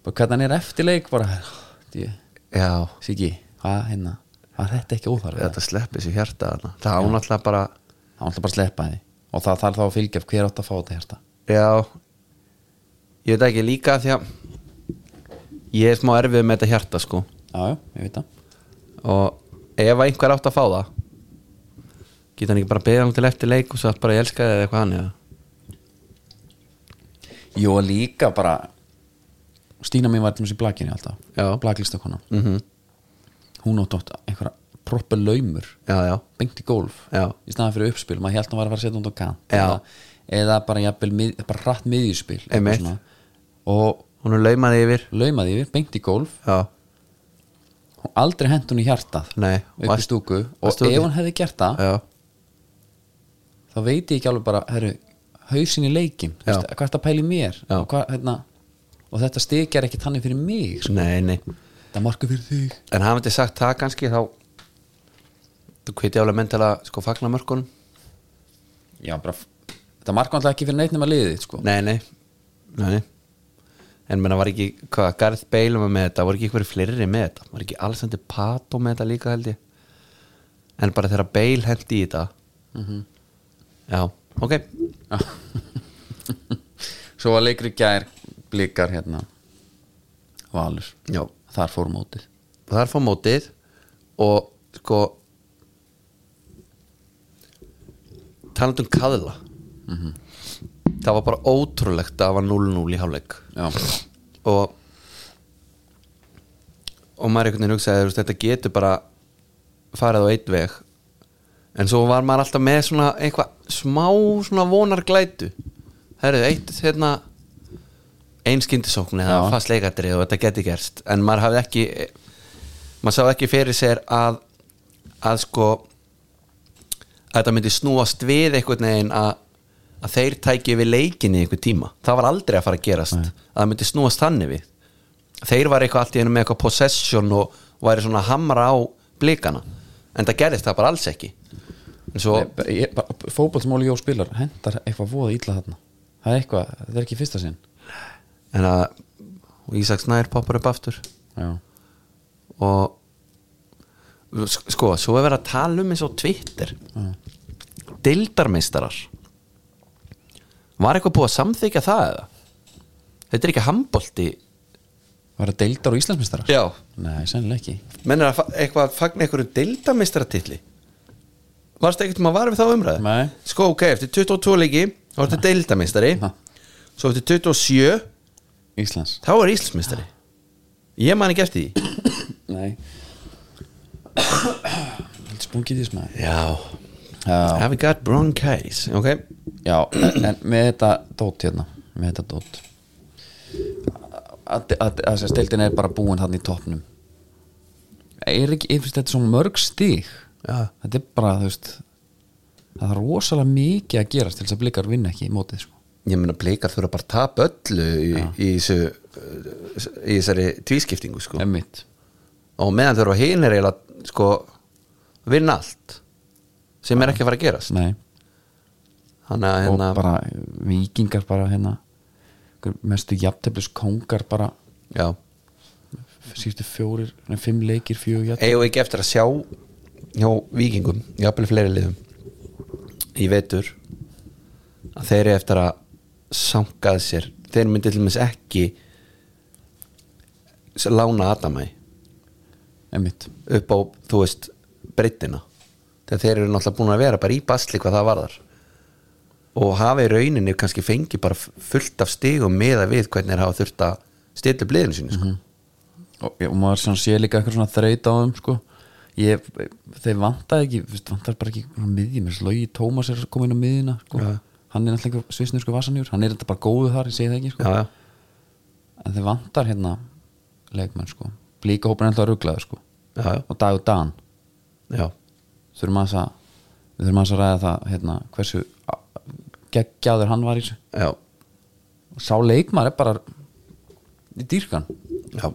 S1: bara hvernig hann er eftir leik bara ég,
S2: já.
S1: Siggi, hvað hérna var þetta ekki óþarfið
S2: þetta sleppi sér hjarta þarna. það án alltaf bara
S1: hann ætla bara að sleppa því og það þarf þá að fylgja hver átt að fá þetta hjarta
S2: já, ég veit ekki líka því að ég er smá erfið með þetta hjarta sko
S1: já, já, ég veit það
S2: og ef einhver átt að fá það geta hann ekki bara beðið hann til eftir leik og sagt bara ég elska þig eða eitthvað hann eða
S1: Jó, og líka bara Stína mín var til þessi blakinu alltaf
S2: Já.
S1: Blaklistakona mm
S2: Mhm.
S1: -hmm. Hún átt átt einhverja proper laumur
S2: já, já,
S1: Bengt í gólf
S2: Já.
S1: Í staðan fyrir uppspil, maður held að var að fara að setja hún á kant
S2: Já.
S1: eða, eða bara, jafnvel, mið, bara hratt miðjuspil eitthvað
S2: Einmitt.
S1: svona. Og
S2: hún er laumaði yfir
S1: laumaði yfir, bengt í gólf
S2: já,
S1: og aldrei hent hún í hjartað
S2: Nei.
S1: upp í
S2: Varst-
S1: stúku og
S2: varstu
S1: ef
S2: úti?
S1: hún hefði gert það
S2: já,
S1: þá veit ég ekki alveg bara herru, hausin í leikin
S2: Já.
S1: veist, hvað er þetta pæli mér
S2: Já.
S1: og, hvað, hérna, og þetta stikjar ekki þannig fyrir mig sko.
S2: nei, nei
S1: þetta er marka fyrir þig
S2: en hann myndi sagt það kannski þá þú hviti alveg menn til að sko fagna mörkunum
S1: já, bara, f- þetta marka alltaf ekki fyrir neitt nema liðið sko.
S2: nei, nei, nei, nei. en menna var ekki hvað, Garth Bale var með þetta, voru ekki eitthvað fleiri með þetta, var ekki Alexander Pato með þetta líka held ég en bara þegar Bale hendi í þetta Mhm. já, ok
S1: svo var leikri gær blikar hérna valur,
S2: já,
S1: þar fór mótið
S2: það er fór mótið og sko talandi um kaðla það var bara ótrúlegt að það var 0-0 í hálfleik
S1: já,
S2: og og maður einhvern veginn hugsaði þú veist, þetta getur bara farið á einn veg en svo var maður alltaf með svona eitthvað smá svona vonarglætu herrið, eitt hérna ein skyndisókn eða
S1: Já.
S2: fast leikatri og þetta geti gerst en maður hafði ekki maður sá ekki fyrir sér að að sko að þetta myndi snúast við einhvern veginn að, að þeir tæki við leikinni í einhvern tíma, það var aldrei að fara að gerast að það myndi snúast þannig við þeir var eitthvað allt í einu með eitthvað possession og væri svona að hamra á blikana en það gerist það bara alls ekki en svo,
S1: fótballsmáli Jó spilar hendar eitthvað voða ítla þarna það er eitthvað, þetta er ekki í fyrsta sinn
S2: en að og Ísak Snær poppar upp aftur
S1: já,
S2: og sk- sko, svo er verið að tala um eins og Twitter mm. dildarmeistarar var eitthvað búið að samþykja það eða? Þetta er ekki handbolti
S1: var það deildar og íslensmistara?
S2: Já
S1: nei, sennilega ekki
S2: Menn er að fa- eitthvað að fagna einhverju dildarmeistaratilli Varst ekkert um að vara við þá umræðu?
S1: Nei.
S2: Sko, ok, eftir 22 leiki þá ertu dildarmeistari
S1: Ha.
S2: Svo eftir 27
S1: Íslands,
S2: þá er Íslandsmeistari Ég man ekki eftir því
S1: nei spungið því smæði
S2: Já
S1: já,
S2: Have you got bronchitis? Ok
S1: Já, en en með þetta dót hérna með þetta dót að, að, að, að stildin er bara búin þannig í toppnum er ekki, ég finnst þetta svo mörg stig
S2: Já.
S1: þetta er bara, þú veist það er rosalega mikið að gerast til þess að blikar vinna ekki í mótið sko.
S2: ég meina bleikar þurfa bara að tapa öllu í, í, þessu, uh, í þessari tvískiptingu sko.
S1: emmitt
S2: og meðan þurfa hinn er eiginlega sko, vinna allt sem er ekki að fara að gerast
S1: Nei,
S2: þannig að hérna,
S1: og bara vikingar bara hérna einhver mestu jafnteflis kongar bara
S2: já,
S1: síðustu fjórir, nei, fimm leikir fjögur jafnteflis
S2: eigum við ekki eftir að sjá hjá vikingum, jafnvel fleiri liðum í vetur að þeir eru eftir að sankaði sér, þeir myndi til dæmis ekki s- lána Adamæ
S1: emmitt,
S2: upp á, þú veist, breyttina þegar þeir eru náttúrulega búin að vera bara í basli hvað það varðar og hafa í rauninni kannski fengið bara fullt af stigum með að við hvernig þeir hafa þurft að stilla upp liðinu sinni sko.
S1: og, og maður svona sé líka eitthvað svona þreyt á þeim sko. ég, þeir vantaði ekki veist, vantaði bara ekki svona miðjum þess logi Tómas er komin á miðjuna sko.
S2: Já.
S1: hann er náttúrulega einhver svisnur sko vassanjúr hann er þetta bara góðu þar, ég segi það ekki sko.
S2: já, já,
S1: en þeir vantar hérna leikmenn sko, blíka hópin er alltaf rugglaður sko,
S2: já, já,
S1: og dag og dan
S2: já,
S1: þurfum að það við þurfum aðeins að ræða það hérna, hversu a- geggjaður hann var í þessu
S2: já,
S1: og sá leikmann er bara í dýrkan,
S2: já.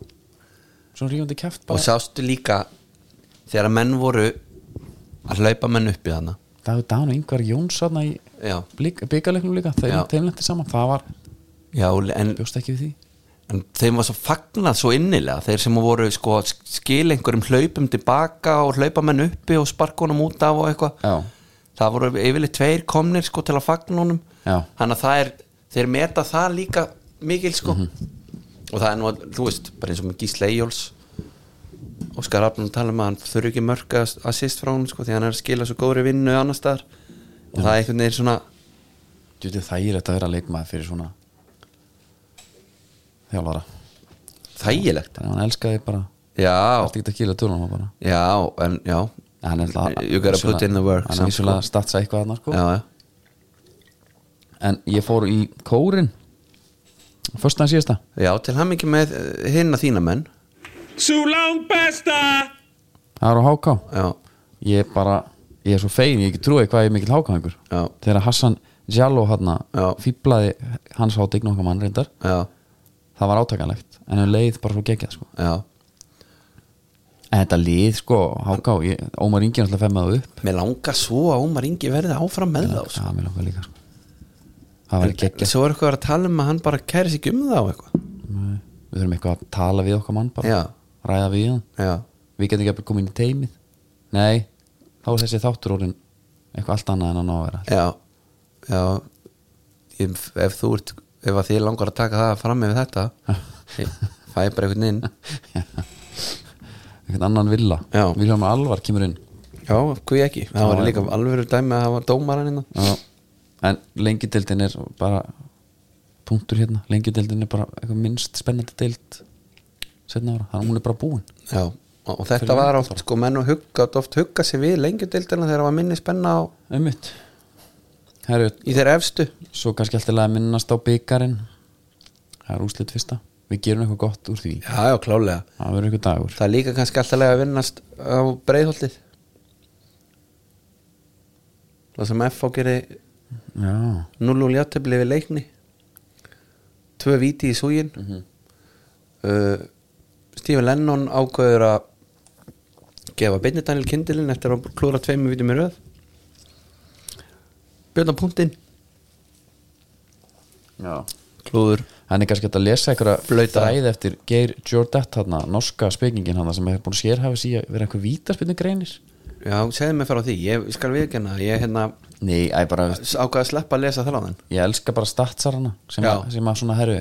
S1: svona rífandi kæft
S2: og
S1: bara,
S2: sástu líka þegar að menn voru að hlaupa menn upp í þarna
S1: dag og dan og yngvar Jóns þarna í
S2: já,
S1: byggarleiknum líka, þeim,
S2: Já.
S1: þeim lendi saman það var,
S2: já en,
S1: bjóst ekki við því
S2: en þeim var svo fagnað svo innilega þeir sem voru sko að skil einhverjum hlaupum tilbaka og hlaupa menn uppi og sparkunum út af og eitthvað
S1: já,
S2: það voru yfirleitt tveir komnir sko til að fagna honum
S1: Já.
S2: þannig að það er, þeir meta það líka mikil sko
S1: Mhm.
S2: og það er nú, að, þú veist, bara eins og með Gísla Eyjóls Óskar Arnum tala um að hann þurfi ekki mörg að assist frá hún sko því hann er að skila svo góðri vinnu annars staðar og það er einhvern veginn svona
S1: þú veit það er að vera leikmaður fyrir svona þjálfara
S2: Þægilegt
S1: þannig að hann elskaði bara
S2: Já,
S1: allt ekki að kýla tölunum bara
S2: já, en já
S1: En hann er alltaf-
S2: You gotta put in the work,
S1: hann
S2: samt, sko.
S1: er vissulega að statsa eitthvað annar sko
S2: Já, já,
S1: en ég fór í kórin fyrsta en síðasta
S2: já til hann ekki með eh, hinna þína menn
S3: Sú langt besta!
S1: það er á háká
S2: Já,
S1: ég er bara ég er svo fegin ég ekki trúi hvað ég er mikill hákáðingur
S2: já,
S1: þegar Hassan Jalo hann
S2: Já.
S1: fýblaði hans hátign okkar mann reyndar
S2: já,
S1: það var átakanlegt en hann leið bara svo geggjað sko
S2: já
S1: en þetta lið sko háká ég, Ómar Ingi er alltaf fem með það upp
S2: Mér langar svo að Ómar Ingi verði áfram með þá sko.
S1: það mér langar líka sko það var geggjað
S2: Svo er eitthvað að vera að tala um að hann bara kæri sig ekki um það á eitthvað
S1: Nei, við þurfum eitthvað að tala við okkar mann bara
S2: Já,
S1: ræða við hann
S2: já,
S1: við getum ekki að koma inn í teimið nei, þá er þessi þáttur orðin eitthvað allt annað en hann á að vera
S2: já Já ég, Ef þú ert, ef að þið langar að taka það fram yfir þetta ég Fæ bara einhvern inn
S1: eitthvað annan villa,
S2: Já.
S1: Vilhjálmur Alvar kemur inn
S2: Já, hvað ég ekki Það var líka alveg dæmi að hafa hérna. dómaran innan
S1: Já. en lengjudildin er bara punktur hérna, lengjudildin er bara eitthvað minnst spennandi dild setna ára, þannig að hún er bara búin
S2: Já, og og þetta var oft sko menn og hugga, oft hugga sér við lengjudeildina þegar var minni spenna á,
S1: ummitt herru,
S2: í þeirra efstu
S1: svo kannski alltaf að minnast á byggarinn það er úslit fyrsta, við gerum eitthvað gott úr því
S2: Já, já, klálega
S1: það verður eitthvað dagur
S2: Það er líka kannski alltaf lega að vinnast á breiðholtið Það sem F gerir
S1: Já.
S2: 0 og ljáttefli við leikni Tvö viti í súgin uh, Stephen Lennon ákveður að gefa Byrni Daniel kindilinn eftir að hann klúra tveimur vítum í röð Björn á punktinn
S1: Já.
S2: Klúður
S1: hann er kannski hægt að lesa einhverja
S2: Flauta.
S1: þræði eftir Geir Jordett hann, norska spekingin hann sem er búin að sérhafa sig í að vera eitthvað vítaspinnu greinir
S2: Já, segðu mig frá því, ég skal viðkjanna ég hérna
S1: nei, æ, bara,
S2: ákvað að sleppa að lesa þráðan
S1: ég elska bara statsarana sem,
S2: Já.
S1: að, sem að svona herru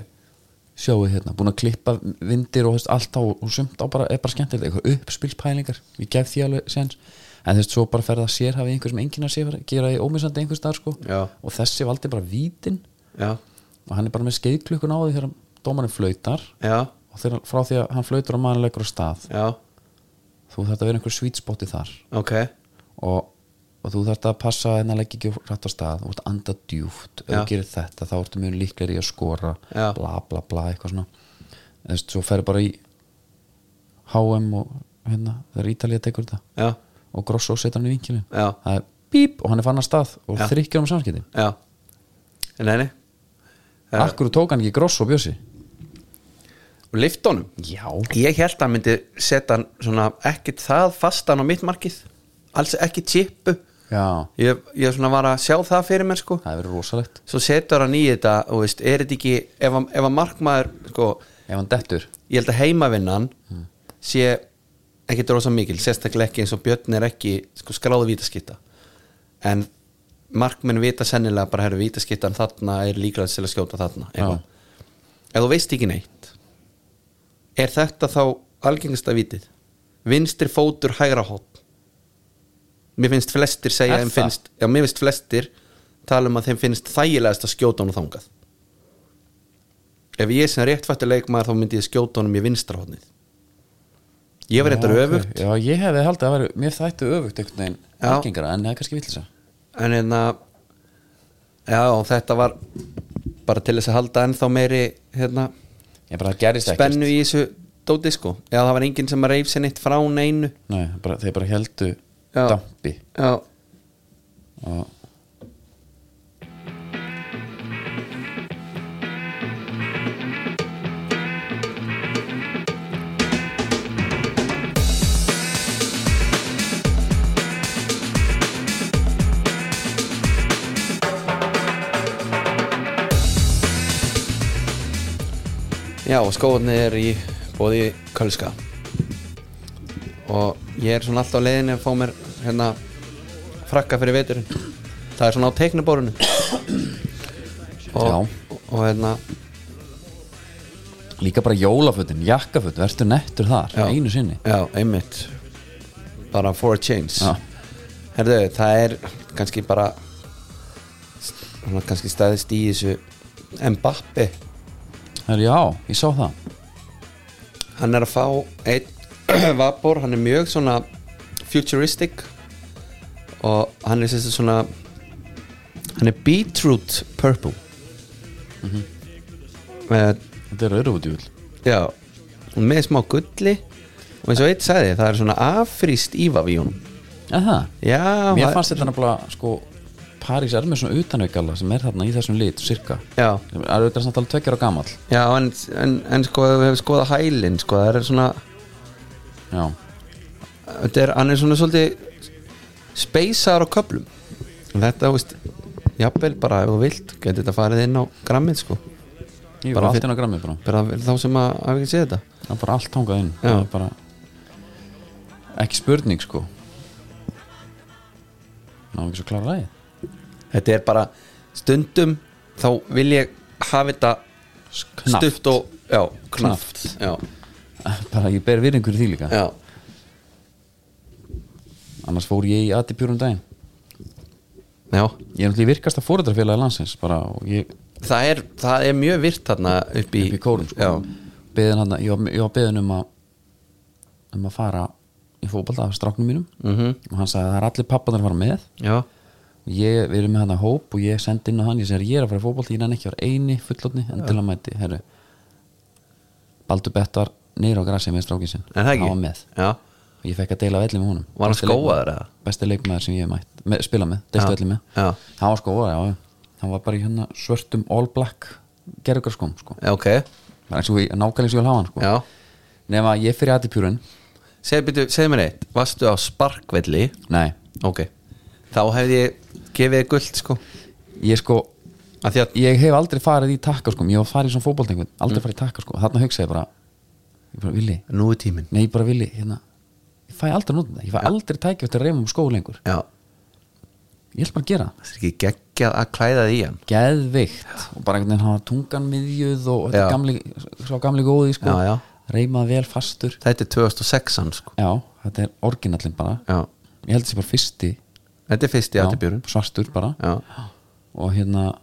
S1: sjáu hérna, búin að klippa vindir og þú veist, allt á, og sumt á bara, er bara skemmtilegt eitthvað uppspilspælingar, ég gef því alveg sens, en þú veist, svo bara ferða að sérhafa einhver sem enginn að sérhafa, gera því ómissandi einhver starf sko,
S2: Já.
S1: og þessi valdi bara vítin
S2: Já,
S1: og hann er bara með skeiðklukkun á því þegar dómarinn flautar
S2: já,
S1: og þegar, frá því að hann flautar og maður leikur á stað
S2: já,
S1: þú þarft að vera einhver sweet spoti þar
S2: ok
S1: og, og þú þarft að passa en að leggja ekki rætt á stað, þú ert að anda djúft ef
S2: Já.
S1: þú gerir þetta, þá ertu mjög líklegri í að skora
S2: Já.
S1: bla bla bla, eitthvað svona þú veist, svo ferðu bara í HM og hérna þegar Ítalía tekur þetta
S2: Já,
S1: og Grosso setur hann í vinkilin
S2: Já.
S1: það er bíp og hann er fann að stað og
S2: Já.
S1: þrykkjur um samskipti
S2: já Nei, nei Já.
S1: Akkur tók hann ekki Grosso bjössi?
S2: Og liftónum
S1: Já
S2: Ég held að hann myndi setja hann svona ekkit það fastan á mitt markið Alls ekki chipu
S1: Já,
S2: Ég, ég svona var að sjá það fyrir mér sko
S1: það hefur verið rosalegt
S2: Svo setur hann í þetta og veist, er þetta ekki Ef, hann- ef að markmaður, sko
S1: ef hann dettur
S2: ég held að heimavinnan sé ekki drósa mikil sérstaklega ekki eins og Björn er ekki sko, skráðu vítaskitta en markmenn vita sennilega bara herru vítaskittan þarna er líklega til að skjóta þarna eitthvað. ef þú veist ekki neitt er þetta þá algengasta vítið vinstri fótur hægra hótt mér finnst flestir segja
S1: Er
S2: þeim
S1: það?
S2: finnst, já, mér finnst flestir tala um að þeim finnst þægilegast að skjóta hann þangað ef ég sem réttfættu leikmaður þá myndi ég skjóta honum í vinstrahotnið ég var reyndar
S1: Já, ok.
S2: öfugt
S1: Já, ég hefði haldið að vera, mér þættu öfugt einhvern veginn
S2: Já.
S1: algengara, en það er kannski villisa
S2: en en að já og þetta var bara til þess að halda ennþá meiri hérna,
S1: Ég bara það gerist ekkert
S2: spennu í þessu dóti sko, já það var enginn sem að reyf sér neitt frá neinu
S1: Nei, bara, þeir bara heldu
S2: Já.
S1: dampi
S2: já,
S1: og
S2: já og skóðni er í bóði Kölska og ég er svona alltaf á leiðinni að fá mér hérna frakka fyrir veturinn það er svona á teiknubórunum og, og hérna
S1: líka bara jólafötin, jakkaföt, verður nettur þar
S2: Já.
S1: einu sinni
S2: Já, einmitt Bara for a change
S1: Já.
S2: Herðu, það er kannski bara svona kannski staðist í þessu Mbappi
S1: Herru, já, ég sá það
S2: hann er að fá einn vapor, hann er mjög svona futuristic og hann er sérst svona hann er beetroot purple
S1: Mhm.
S2: með,
S1: Þetta er rauðrúdjúl
S2: já og með smá gulli og eins og eitt sagði það er svona afríst ífaf í honum
S1: Eða það?
S2: já,
S1: Mér
S2: það-
S1: fannst þetta nefnilega, sko París er með svona utanaukala sem er þarna í þessum lit, cirka
S2: já,
S1: Það er auðvitað samt alveg tveggjara gamall
S2: já en, en, en sko ef við hefum skoðað hælinn sko, það er svona
S1: Já,
S2: þetta er, hann er svona svolítið speysar á köplum þetta, þú veist, jafnvel bara ef þú vilt, getur þetta farið inn á grammið sko,
S1: ég
S2: Bara
S1: var allt
S2: fyrir-
S1: inn á grammið bara
S2: bara fyrir þá sem að hafa ekki séð þetta
S1: Það er bara allt tangað inn
S2: Já.
S1: Það er bara... Ekki spurning, sko Ná ekki svo klára lagi
S2: þetta er bara stundum þá vil ég hafa þetta stutt og, já, knaft já,
S1: Bara ég ber virðingur í því líka
S2: já,
S1: Annars fór ég í aði pjúrum um daginn
S2: já
S1: Ég er náttúrulega í virkasta fóreldrafélagi landsins bara, og ég
S2: það er, það er mjög virt þarna upp í,
S1: upp í kórum sko.
S2: já,
S1: beðin hana, ég, var, ég var beðin um að um að fara í fótbalta af stráknum mínum -hmm.
S2: Mhm.
S1: og hann sagði að það er allir pappanar að fara með
S2: já,
S1: og ég, við erum með hann að hóp og ég sendi inn á hann, ég segir ég er að fara í fótbalta ég nenni ekki að vera eini fullotni en til að mæti herru, Baldur Bettar niður á grasið með strákin sinn
S2: en það
S1: hann
S2: ekki
S1: var með
S2: já,
S1: og ég fekk að deila velli með honum
S2: Var hann
S1: Besti leikmaður-
S2: skóaður eða?
S1: besti leikmaður sem ég hef mætt, með, spila með, deiltu
S2: Já,
S1: velli með
S2: já.
S1: hann var skóaður, já, já hann var bara í hérna svörtum all black gerðugarskóm sko.
S2: ok,
S1: Það er eins og ég- nákvæmlega eins og ég vil hafa hann sko.
S2: já
S1: nema ég fyrir aðipjúrun
S2: segð, byrju, segð mér eitt, varstu á sparkvelli
S1: nei,
S2: Ok, þá hefði ég gefið þér guld sko
S1: ég sko
S2: að Því að,
S1: ég hef aldrei farið í takka sko ég hef farið í svona fótboltengun, aldrei
S2: Mm.
S1: farið í takka sko þarna hugsa ég bara, ég bara villi
S2: nú er tíminn
S1: nei, ég bara villi, hérna ég fæ aldrei notin það, ég fæ aldrei tækja eftir að reyma um skó lengur
S2: Já,
S1: ég ætla bara að gera það,
S2: það er ekki geggjað að klæða þig í hann
S1: geðveikt og bara einhvern veginn hafa tungan miðjuð og
S2: Já.
S1: þetta gamli, svo gamli góði sko
S2: Já, já.
S1: reymað vel fastur
S2: Þetta er 2006 hann sko
S1: já, þetta er orginallin bara
S2: Já,
S1: ég held þessi bara fyrsti
S2: þetta er fyrst í aðtibjörun
S1: svartur bara
S2: Já,
S1: og hérna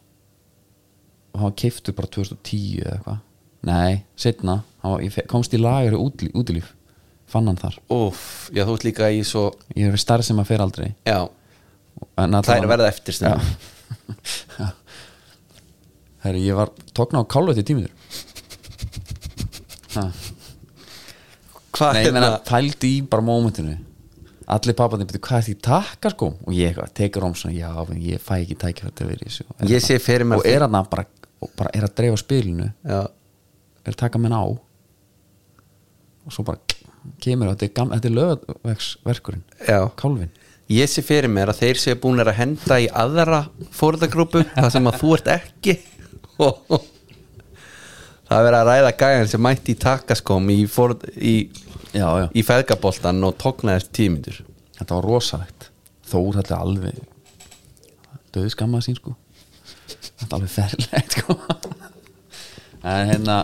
S1: og hann keiftur bara 2010 eða eitthvað nei, setna, hann var, ég fe- komst í lagar í útlí- útilíf, fann hann þar
S2: úff, já þú ert líka í svo
S1: ég er starf sem að fer aldrei
S2: Já,
S1: En
S2: það er
S1: allavega-
S2: að verða eftir stundum
S1: herri, ég var tókn á kálvöti tímiður
S2: Hvað
S1: nei, ég
S2: hérna,
S1: meina, pældi í bara mómentinu allir papparnir byrju, hvað er því takka sko og ég eitthvað, tekur om svona, já, en ég fæ ekki tækifært til að vera í þessu Og er
S2: Ég
S1: þarna-
S2: sé fyrir mér
S1: og er hann bara, og bara er að dreifa spilinu
S2: já,
S1: er að taka menn á og svo bara kemur og þetta er, gam, þetta er lögverkurinn
S2: já
S1: kálfin
S2: Ég sé fyrir mér að þeir séu búin að henda í aðra fórðagrúpu Það sem að þú ert ekki Það er verið að ræða gæðan sem mætti í takaskóm í, forð, í
S1: já, já.
S2: í feðgaboltan og tóknaðist tímindur
S1: þetta var rosalegt Þór þetta er alveg döðu skammaði sín sko þetta er alveg ferlegt sko en hérna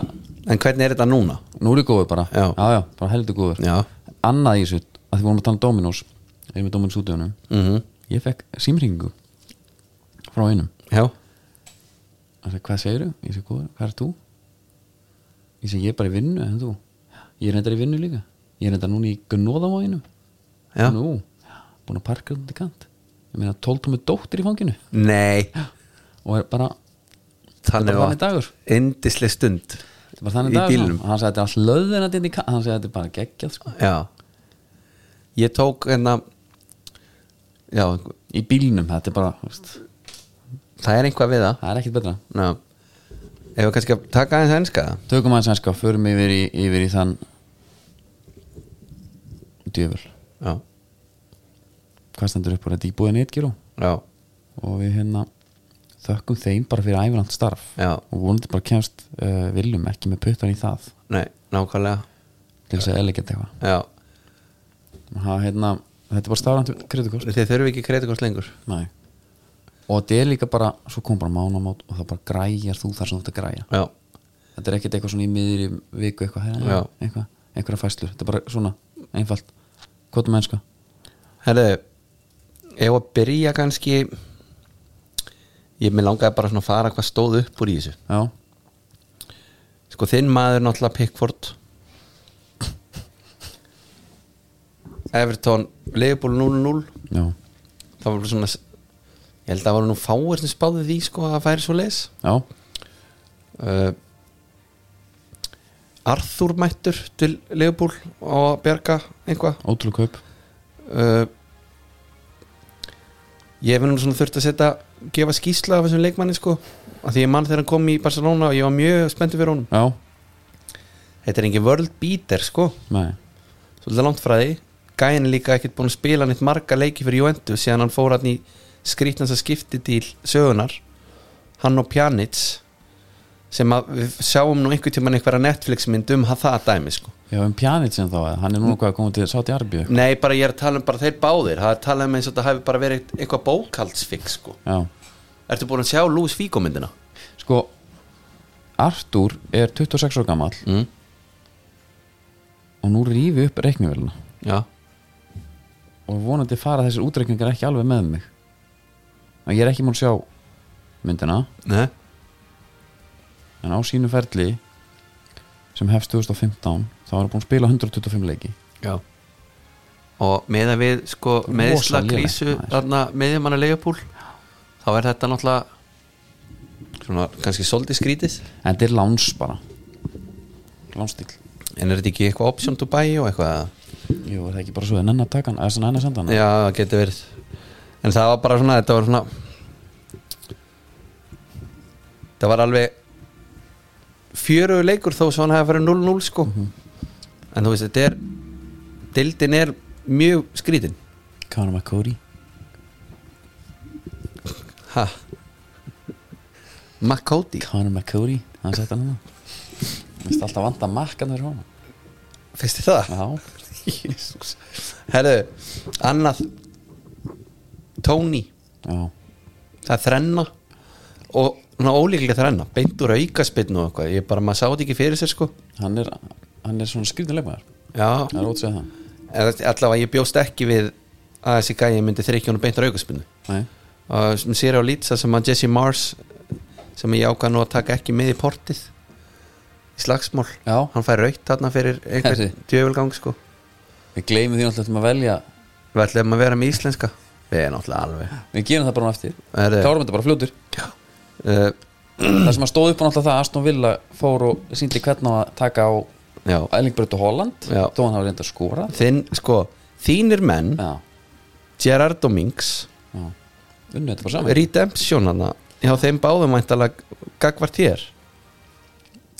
S2: en hvernig er þetta núna?
S1: nú er ég góður bara
S2: Já.
S1: já, bara heldur góður
S2: Já.
S1: annað í þessu, að því vorum að tala um Dominos ég er með Dominos útöfunum mm
S2: Mhm,
S1: -hmm. ég fekk símringu frá einum
S2: Já,
S1: hann sagði, hvað segirðu? Ég segi, góður, hvað er þú? Ég segi, ég er bara í vinnu, en þú? Ég er reyndar í vinnu líka Ég er reyndar núna í gnóðamáginum
S2: Já.
S1: Nú, búin að parka út í kant Ég meina, tóltómi dóttir í fanginu
S2: nei
S1: Og er bara, Þetta
S2: þannig
S1: er bara þannig dagur.
S2: Indisleg stund
S1: þetta er bara þannig
S2: Í
S1: dagur,
S2: bílnum.
S1: sko. Og Hann sagði, þetta er alls löðin að þetta í kant Hann sagði, þetta er bara geggjað, sko
S2: Já Ég tók hérna Já,
S1: Í bílnum, þetta er bara, þú veist
S2: það er einhvað við það
S1: Það er ekkit betra
S2: Ná Ef við kannski að taka aðeins henska það
S1: Tökum aðeins hanska, förum yfir í, yfir í þann Djöfur
S2: Já,
S1: Hvað stendur upp úr þetta íbúðin eitt, Gíró?
S2: já,
S1: og við hérna þökkum þeim bara fyrir æfirland starf
S2: Já.
S1: og vonandi bara kemst uh, viljum ekki með puttan í það
S2: nei, nákvæmlega
S1: til þess að elegant eitthvað
S2: Já,
S1: ha, hérna, þetta er bara starfandi kreditkost
S2: þið þurfum ekki kreditkort lengur
S1: Nei. og þetta er líka bara svo kom bara mánamót og það bara græjar þú þar sem þú ert að græja
S2: Já,
S1: þetta er ekkert eitthvað svona í miðri viku eitthvað,
S2: Já.
S1: hérna, eitthvað einhverja fæslur, þetta er bara svona einfalt hvað er mennska?
S2: herðu Ef að byrja kannski Ég mér langaði bara svona að fara hvað stóð upp úr í þessu
S1: Já,
S2: sko þinn maður náttúrulega Pickford Everton Liverpool 0-0
S1: já,
S2: það var svona ég held að það var nú fáir sem spáði því sko að það færi svo leis
S1: já,
S2: uh, Arthur mættur til Liverpool og Bjarga einhvað
S1: ótrúlega kaup
S2: uh, ég hef nú svona þurft að setja gefa skýsla af þessum leikmanni sko að því ég mann þegar hann kom í Barcelona og ég var mjög spenntur fyrir honum
S1: já,
S2: þetta er engin world beater sko
S1: nei,
S2: svolítið langt fræði gæin er líka ekkert búin að spila neitt marga leiki fyrir Juventus síðan hann fór hann í skrýtnans að skipti til sögunar hann og Pjanic sem að við sjáum nú einhvern tímann einhverja Netflix mynd um ha- það dæmi sko.
S1: já, um Pjanic sem þá eða? hann er núna hvað að koma til Sáti Arbíu
S2: nei bara ég er að tala um bara þeir báðir það er að tala um eins og þetta hafi bara verið eitthvað bókaldsfix sko.
S1: já,
S2: ertu búin að sjá Lúis Fíko myndina
S1: sko Artur er 26 ára gamall
S2: mm.
S1: og nú rífi upp reiknivélina
S2: já
S1: og vonandi fara þessir útreikningar ekki alveg með mig og ég er ekki múin að sjá myndina
S2: nei
S1: en á sínu ferli sem hefst 2015 þá er hann búin að spila 125 leiki
S2: já og með að við sko meðsla
S1: lélegt,
S2: krísu
S1: maður.
S2: þarna meðjumanna leigupúl þá er þetta náttúrulega svona kannski svolítið skrítið
S1: en þetta er láns bara lánsstíl
S2: en er þetta ekki eitthvað option to buy og eitthvað
S1: Jú, er það ekki bara svo en enn að taka hann eða sem enn að senda hann
S2: já, það getur verið en það var bara svona, þetta var svona það var alveg fjöru leikur þó svo hann hefði farið 0-0 sko en þú veist, þetta er dildin er mjög skrítin
S1: Conor McCody
S2: ha McCody
S1: Conor McCody, hann sett hann hann finnst alltaf vanda makkan þér hún
S2: Finnst þið það?
S1: Já,
S2: Jésús Herðu, annað Tony,
S1: já,
S2: það er þrenna og ná ólíklega þrenna beint úr aukaspinn og eitthvað ég bara, maður sá þetta ekki fyrir sér sko
S1: hann er hann er svona skrýtinleikmaður
S2: Já,
S1: það er ótt segja það
S2: eða allavega ég bjóst ekki við að þessi gæi myndi þrykja hún beint úr aukaspinnu
S1: Nei,
S2: og sem sér á lýtsa sem að Jesse Mars sem ég ákvað nú að taka ekki með í portið í slagsmál
S1: Já.
S2: hann fær raukt þarna fyrir einhver
S1: Herri.
S2: djöfulgang sko
S1: við gleymum því alltaf um að velja
S2: Við ætlum að vera með íslenska Við erum náttúrulega alveg
S1: við gerum það bara á eftir
S2: Herðu.
S1: klárum þetta bara fljótur
S2: uh,
S1: það sem að stóð upp á náttúrulega það að Aston Villa fór og síndi hvernig á að taka á
S2: Já,
S1: Ælingbrötu Holland
S2: Já.
S1: þó hann hafi reynda að skora
S2: þinn, sko Þínir menn,
S1: já,
S2: Gerard og Minks
S1: já, unnu þetta bara saman
S2: Redemption hana Já, þeim báðum væntalega gagvart hér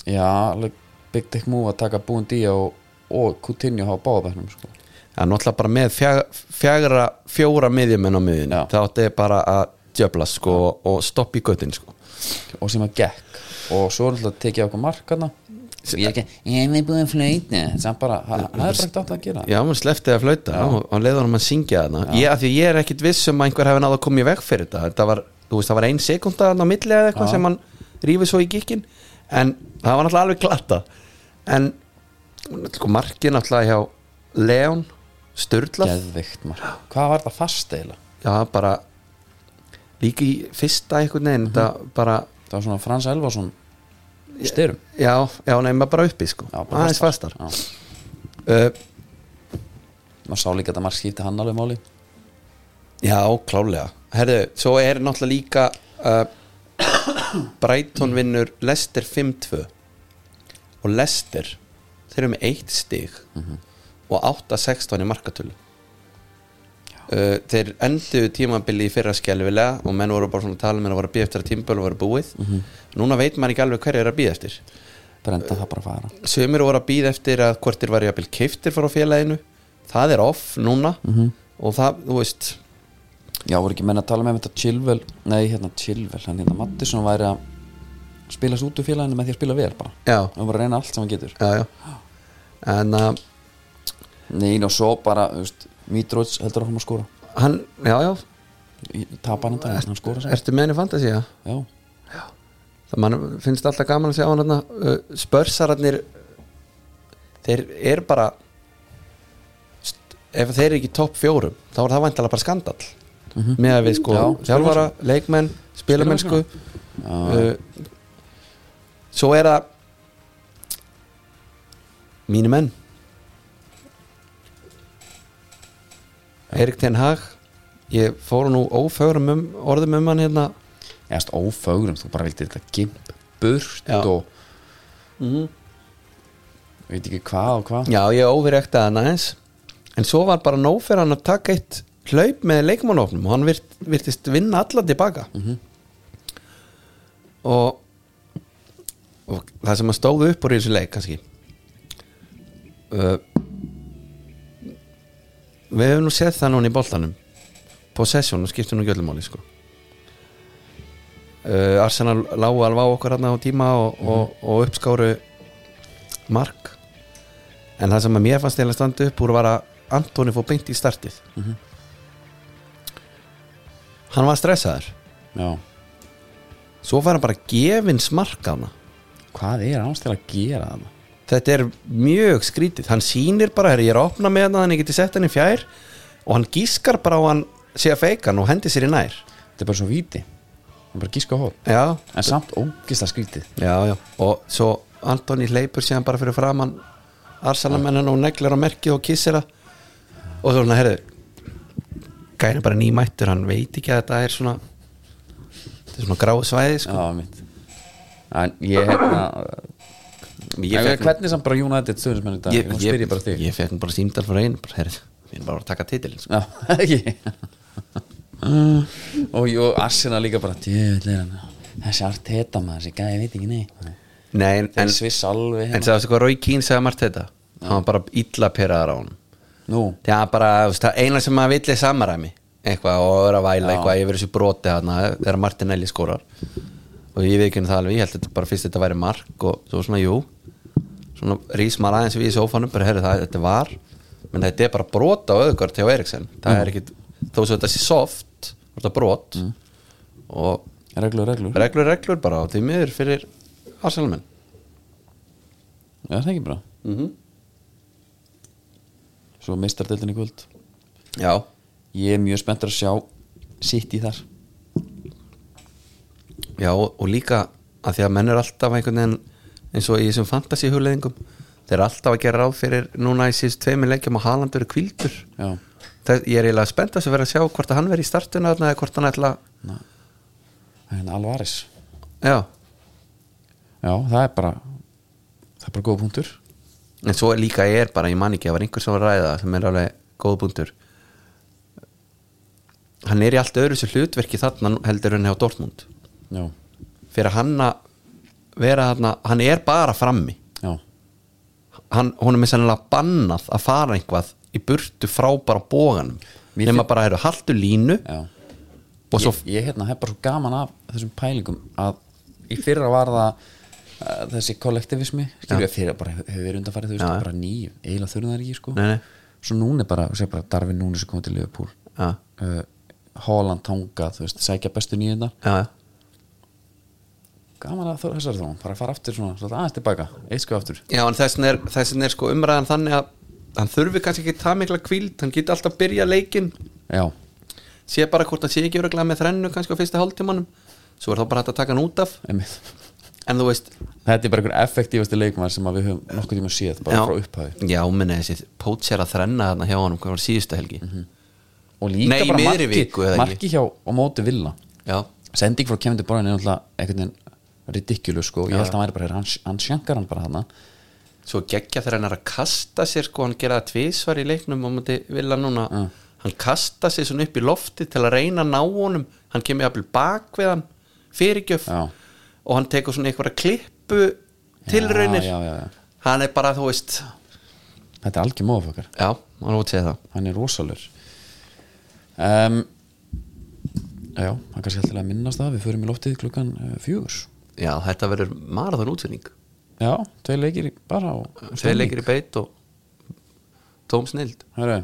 S1: já, alveg big dick move að taka búin díja og, og Coutinho hafa báðabæknum sko.
S2: Það er náttúrulega bara með fjag- fjagra, fjóra miðjumenn á miðjun
S1: Já.
S2: Það átti bara að djöfla, sko og stoppa í göttin, sko
S1: og sem að gekk og svo er alltaf tekið okkur markana ég er ekki, ég er búin flöytni sem bara, það það er bara ekkert átt að gera
S2: Já, hún sleppti að flauta og hann leiði hann að syngja þarna ég, af Því ég er ekkit viss um að einhver hefði náð að koma í veg fyrir þetta Það var, þú veist, það var ein sekunda þarna á milli eða eitthvað sem hann rífið svo í gikkin En það var náttúrulega alveg glata En sko, markið náttúrulega hjá Leon Sturlað
S1: geðvikt mark, hvað var það fast eiginlega
S2: Já, bara líka í fyrsta einhvern veginn Þetta bara,
S1: það var svona Frans Elvason styrum,
S2: já, já, nefnir bara uppi sko
S1: Já, bara
S2: Aðeins fastar
S1: já,
S2: uh,
S1: maður sá líka að mark skipti hann alveg máli
S2: Já, klálega Herðu, svo er náttúrulega líka uh, Brighton vinnur Lester 5-2 og Lester þeir eru með eitt stig
S1: Mhm.
S2: og 8-16 í markatölu uh, þeir endu tímabili í fyrra skelvilega og menn voru bara svona að tala með að voru að býja eftir að tímabili voru búið
S1: Mhm.
S2: núna veit maður ekki alveg hverju er að býja eftir
S1: brenda það bara að fara
S2: sömur voru að býða eftir að hvort þeir var jafnvel keiftir frá félaginu það er off núna og það, þú veist
S1: já, voru ekki menn að tala með um þetta Chilwell nei, hérna Chilwell, hann hérna Mattisson væri að spilast út úr félaginu með því að spila vel bara
S2: já,
S1: og bara að reyna allt sem hann getur
S2: já, já. en uh,
S1: neina og svo bara, þú veist, Mitrovic heldur að hann að skora
S2: hann, já, já
S1: Ég- tapar hann það, hann skora sér
S2: ertu með henni fantasía
S1: já,
S2: það mann finnst alltaf gaman að sjá hann þarna. uh, spörsararnir þeir eru bara st- ef þeir eru ekki topp fjórum þá er það vantilega bara skandall með að við sko
S1: Já,
S2: þjálfara, leikmenn spilamennsku uh, svo er Eh, það Mínu menn Erik Ten Hag Ég fór nú ófögrum um, orðum um hann hérna
S1: ég veist ófögrum, þú bara vildi þetta gimp burt
S2: Já. Mhm.
S1: og ég veit ekki hvað og hvað
S2: Já, ég óvirektaði hann aðeins En svo var bara nóg fyrir hann að taka eitt hlaup með leikmannofnum og hann virt, virtist vinna alla tilbaka -hmm. og, og það sem að stóðu upp úr í þessu leik kannski uh, Við hefum nú séð það núna í boltanum Possession og skiptum nú gjöldumóli sko uh, Arsenal lágu alveg á okkur hann á tíma og, og, og uppskáru mark en það sem að mér fannst eða standa upp úr var að Antoni fór beint í startið hann var stressaður
S1: já,
S2: svo var hann bara gefin smark á hana
S1: hvað er hans til að gera það
S2: þetta er mjög skrítið hann sýnir bara, "Herra, ég er að opna með hann þannig ég geti sett hann í fjær og hann gískar bara á hann sé að feika hann og hendi sér í nær
S1: þetta er bara svo víti, það er bara gíska hól
S2: já,
S1: en samt ógisla skrítið
S2: já, já og svo Antoni hleypur síðan bara fyrir framann Arsalamennan og neglar á merkið og kissir það og svo svona, herðu gæri bara nýmættur, hann veit ekki að þetta er svona þetta er svona gráu svæði sko.
S1: já, mitt en ég hérna
S2: ég,
S1: en
S2: fekk nú-
S1: hvernig samt bara United stöðnismenn í dag,
S2: ég,
S1: ég,
S2: ég,
S1: spyr ég bara þig
S2: ég fekk nú bara símdal frá einu bara, herðu, við erum bara að taka titilin sko.
S1: já, ekki og jú, Arsina líka bara djöðlega hann þessi arteta maður, þessi gæði, ég veit ekki neitt
S2: Nei, en, en,
S1: þeir sviss alveg
S2: en
S1: hérna
S2: sagði hvað Rói Kín sagði margt þetta hann var bara illa pyrraðar á honum
S1: nú,
S2: Já, bara, þú veist, það eina sem maður vill er samaræmi eitthvað og er að væla
S1: Já.
S2: eitthvað yfir þessu broti þarna þegar Martin Eli skórar og ég viðkynna það alveg, ég held þetta bara fyrst þetta væri mark og svo svona, jú svona rís maður aðeins við í sófanum bara herri það, þetta var menn þetta er bara brot á öðugvart hjá Eriksen það er ekkit, þó svo þetta sé soft var þetta brot og
S1: reglur, reglur
S2: reglur, reglur bara og því miður fyrir Arsalmenn
S1: Já, það er ekki bara
S2: Mhm.
S1: Svo mistardeldin í kvöld
S2: Já,
S1: Ég er mjög spenntur að sjá sitt í þar
S2: Já og og líka að því að menn er alltaf einhvern veginn eins og í þessum fantasy hugleðingum þeir eru alltaf að gera ráð fyrir núna í síðust tveimur leikjum að Haaland verið kvildur
S1: Já,
S2: ég er eiginlega spennt að vera að sjá hvort að hann verið í startuna þarna eða hvort hann ætla
S1: en Alvaris
S2: já,
S1: Já, það er bara Það er bara góða punktur
S2: en svo líka er bara ég man ekki, það var einhver sem var að ræða það sem er alveg góð punktur hann er í allt öðru þessu hlutverki þarna heldur hann hjá Dortmund
S1: Já,
S2: fyrir hann að vera þarna hann er bara frammi
S1: já,
S2: hann, hún er með sennilega bannað að fara einhvað í burtu frá bara bóganum
S1: Mér
S2: nema bara eru haltu línu
S1: já
S2: og svo,
S1: Ég, ég hérna, hef bara svo gaman af þessum pælingum að í fyrra var það uh, þessi kollektivismi skilur
S2: Já.
S1: ég fyrir bara hefur hef verið undanfarið þú veist,
S2: Já, já.
S1: bara nýjum, eiginlega þurfum það ekki sko.
S2: Nei, nei.
S1: svo núna er bara, þú segir bara Darvin Núnes er komið til Liverpool
S2: Já.
S1: uh, Holland Tonga, þú veist, sækja bestu nýjundar
S2: já,
S1: gaman að þó- þessari þróun, bara að fara aftur svona, svona aðeins tilbaka, eitt sko aftur
S2: já en þessin er, þessin er sko umræðan þannig að hann þurfi kannski ekki það mikla kvíld hann geti alltaf byrja leikinn
S1: já,
S2: sé bara hvort hann sé ekki öruglega með þrennu kannski á fyrsta hálftímanum svo er þá bara hægt að taka hann út af
S1: einmitt
S2: en þú veist,
S1: þetta er bara einhver effektífasti leikmaður sem að við höfum nokkuð tíma séð bara frá upphæði
S2: já, minna þessi pótsjara þrenna þarna hjá honum, hvað var síðustu helgi
S1: Mhm. og líka
S2: Nei, í
S1: bara marki,
S2: miðri viku, eða ekki?
S1: marki hjá og móti villa
S2: já,
S1: sending frá Kevin De Bruyne er náttúrulega einhvern veginn ridiculous sko, ég held að hann væri bara hann, hann sjankar hann bara hana
S2: svo geggja þegar hann er að kasta sér sko, hann gera það tvísvar í leiknum og múti vilja núna hann kasta sér svona upp í lofti til að reyna að ná honum hann kemur jafnvel bak við hann fyrirgjöf
S1: Já.
S2: og hann tekur svona einhverja klippu tilraunir
S1: já, já, já.
S2: hann er bara þú veist
S1: þetta er algjör móðafökar,
S2: já, hann út segja það
S1: hann er rosalur um, já, hann kannski heldur að minnast það við förum í loftið klukkan uh, fjögur
S2: já, þetta verður maraðan útfinning
S1: já, tvei leikir í- bara og og
S2: þeir
S1: stemning.
S2: leikir í beit og tóm snild
S1: Herru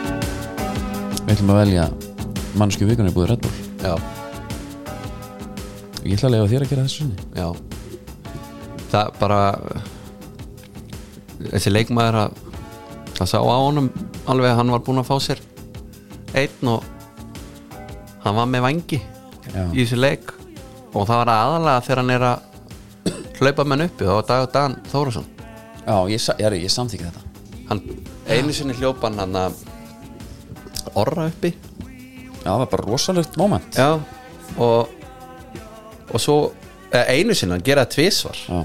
S1: Við ætlum að velja mannsku vikunni búið Red Bull
S2: já,
S1: Ég ætla að lega þér að gera þessu sinni
S2: já það bara þessi leikmaður að það sá á honum alveg að hann var búinn að fá sér einn og hann var með vangi
S1: Já.
S2: í þessu leik og það var aðalega þegar hann er að hlaupa menn uppi þá var Dag Dan Þórasson
S1: Já, ég, sa- ég, ég samþykja þetta
S2: hann einu sinni hljópan hann að orra uppi
S1: Já, það var bara rosalegt moment
S2: já og, og svo eh, einu sinni hann gera það tvisvar
S1: Já,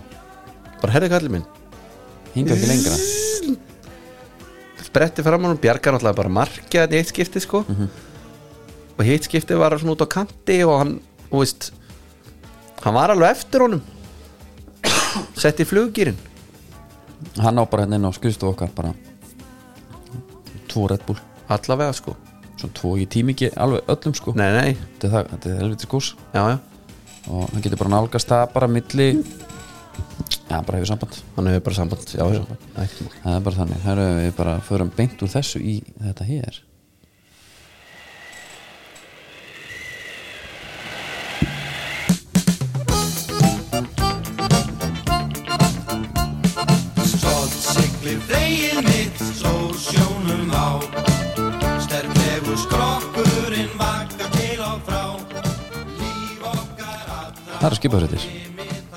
S2: bara herði kallið minn
S1: hingað ekki lengra
S2: bretti fram á hann, bjargar náttúrulega bara markið þetta í eitt skipti sko og hitt skipti var svona út á kanti og hann, þú veist hann var alveg eftir honum setti í fluggýrin
S1: Hann á bara hérna inn á skrifstu okkar bara Tvo Red Bull
S2: allavega sko,
S1: Svo tvo, ég tími ekki alveg öllum sko
S2: nei nei
S1: Þetta er það, þetta er helviti skús
S2: já já,
S1: Og hann getur bara nálgast það bara milli Já, bara hefur samband
S2: hann hefur bara samband já já, Ekkert mál.
S1: Það er bara þannig, það eru við bara förum beint úr þessu í þetta hér
S4: Stolt siglir veginn mitt svo sjónum á Sterklegur skrokkurinn vakar til og frá Líf okkar allra
S1: Það eru skipaðsrættir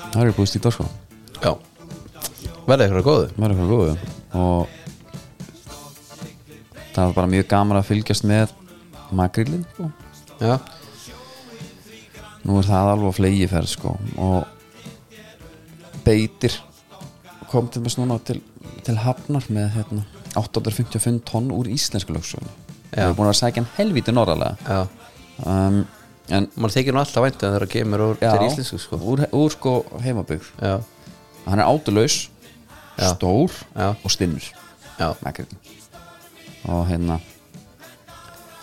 S1: Það eru búið stíkt orsko
S2: já verða ykkur að góðu
S1: Það eru fyrir góðu Og það var bara mjög gaman að fylgjast með makrillin sko.
S2: já,
S1: Nú er það alveg á flegiferð sko. Og beitir kom til mér núna til, til hafnar með hérna, 855 tonn úr íslensku lögsögunni
S2: Já.
S1: Það er búin að sækja hann helvíti norðarlega
S2: já
S1: um, En
S2: mann þykir nú alltaf vænt að það kemur úr
S1: já,
S2: til íslensku sko
S1: úr, úr sko heimabyggð
S2: já,
S1: Hann er átulaus,
S2: Já.
S1: stór
S2: Já.
S1: og stinnur
S2: já
S1: makrillin og hérna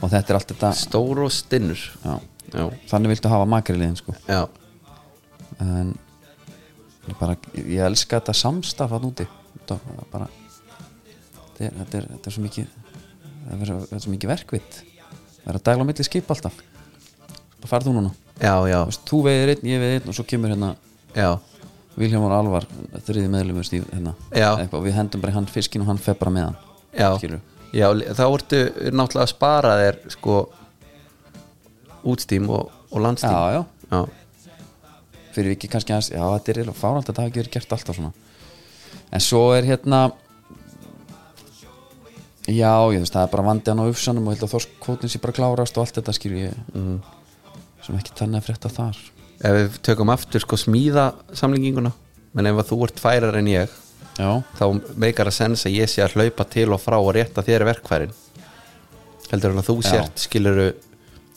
S1: og þetta er allt þetta
S2: stór og stinnur
S1: já,
S2: já,
S1: þannig viltu hafa makrillin sko
S2: já,
S1: en ég, bara, ég elska þetta samstaf hann úti þetta er bara þetta er, þetta er, þetta er svo mikið það er, það er svo mikið verkvitt það er að dæla á milli skip alltaf bara farð þú núna
S2: já, já,
S1: Þú veist, þú veiðir einn, ég veiðir einn og svo kemur hérna
S2: já.
S1: Vilhjálmur Alvar, þriði meðlumur stíf hérna,
S2: Já.
S1: eitthvað, við hendum bara í hann fiskinn og hann fer bara með hann
S2: Já,
S1: Skilurðu?
S2: já li- þá ertu náttúrulega að spara þér sko útstím og, og landstím
S1: já, já,
S2: já,
S1: fyrir vikið kannski aðeins já þetta er eiginlega fáralt að þetta hafi ekki verið gert alltaf svona en svo er hérna já ég veist það er bara vandi hann á ufsanum og ég held að þorskvótin sé bara klárast og allt þetta skýr ég
S2: Mhm.
S1: mm. sem ekki þannig að frétta þar
S2: Ef við tökum aftur sko smíða samlinginguna menn ef að þú ert færar en ég
S1: já,
S2: þá meikar að sens að ég sé að hlaupa til og frá og rétta þér verkfærin heldur en að þú
S1: Já.
S2: sért skiluru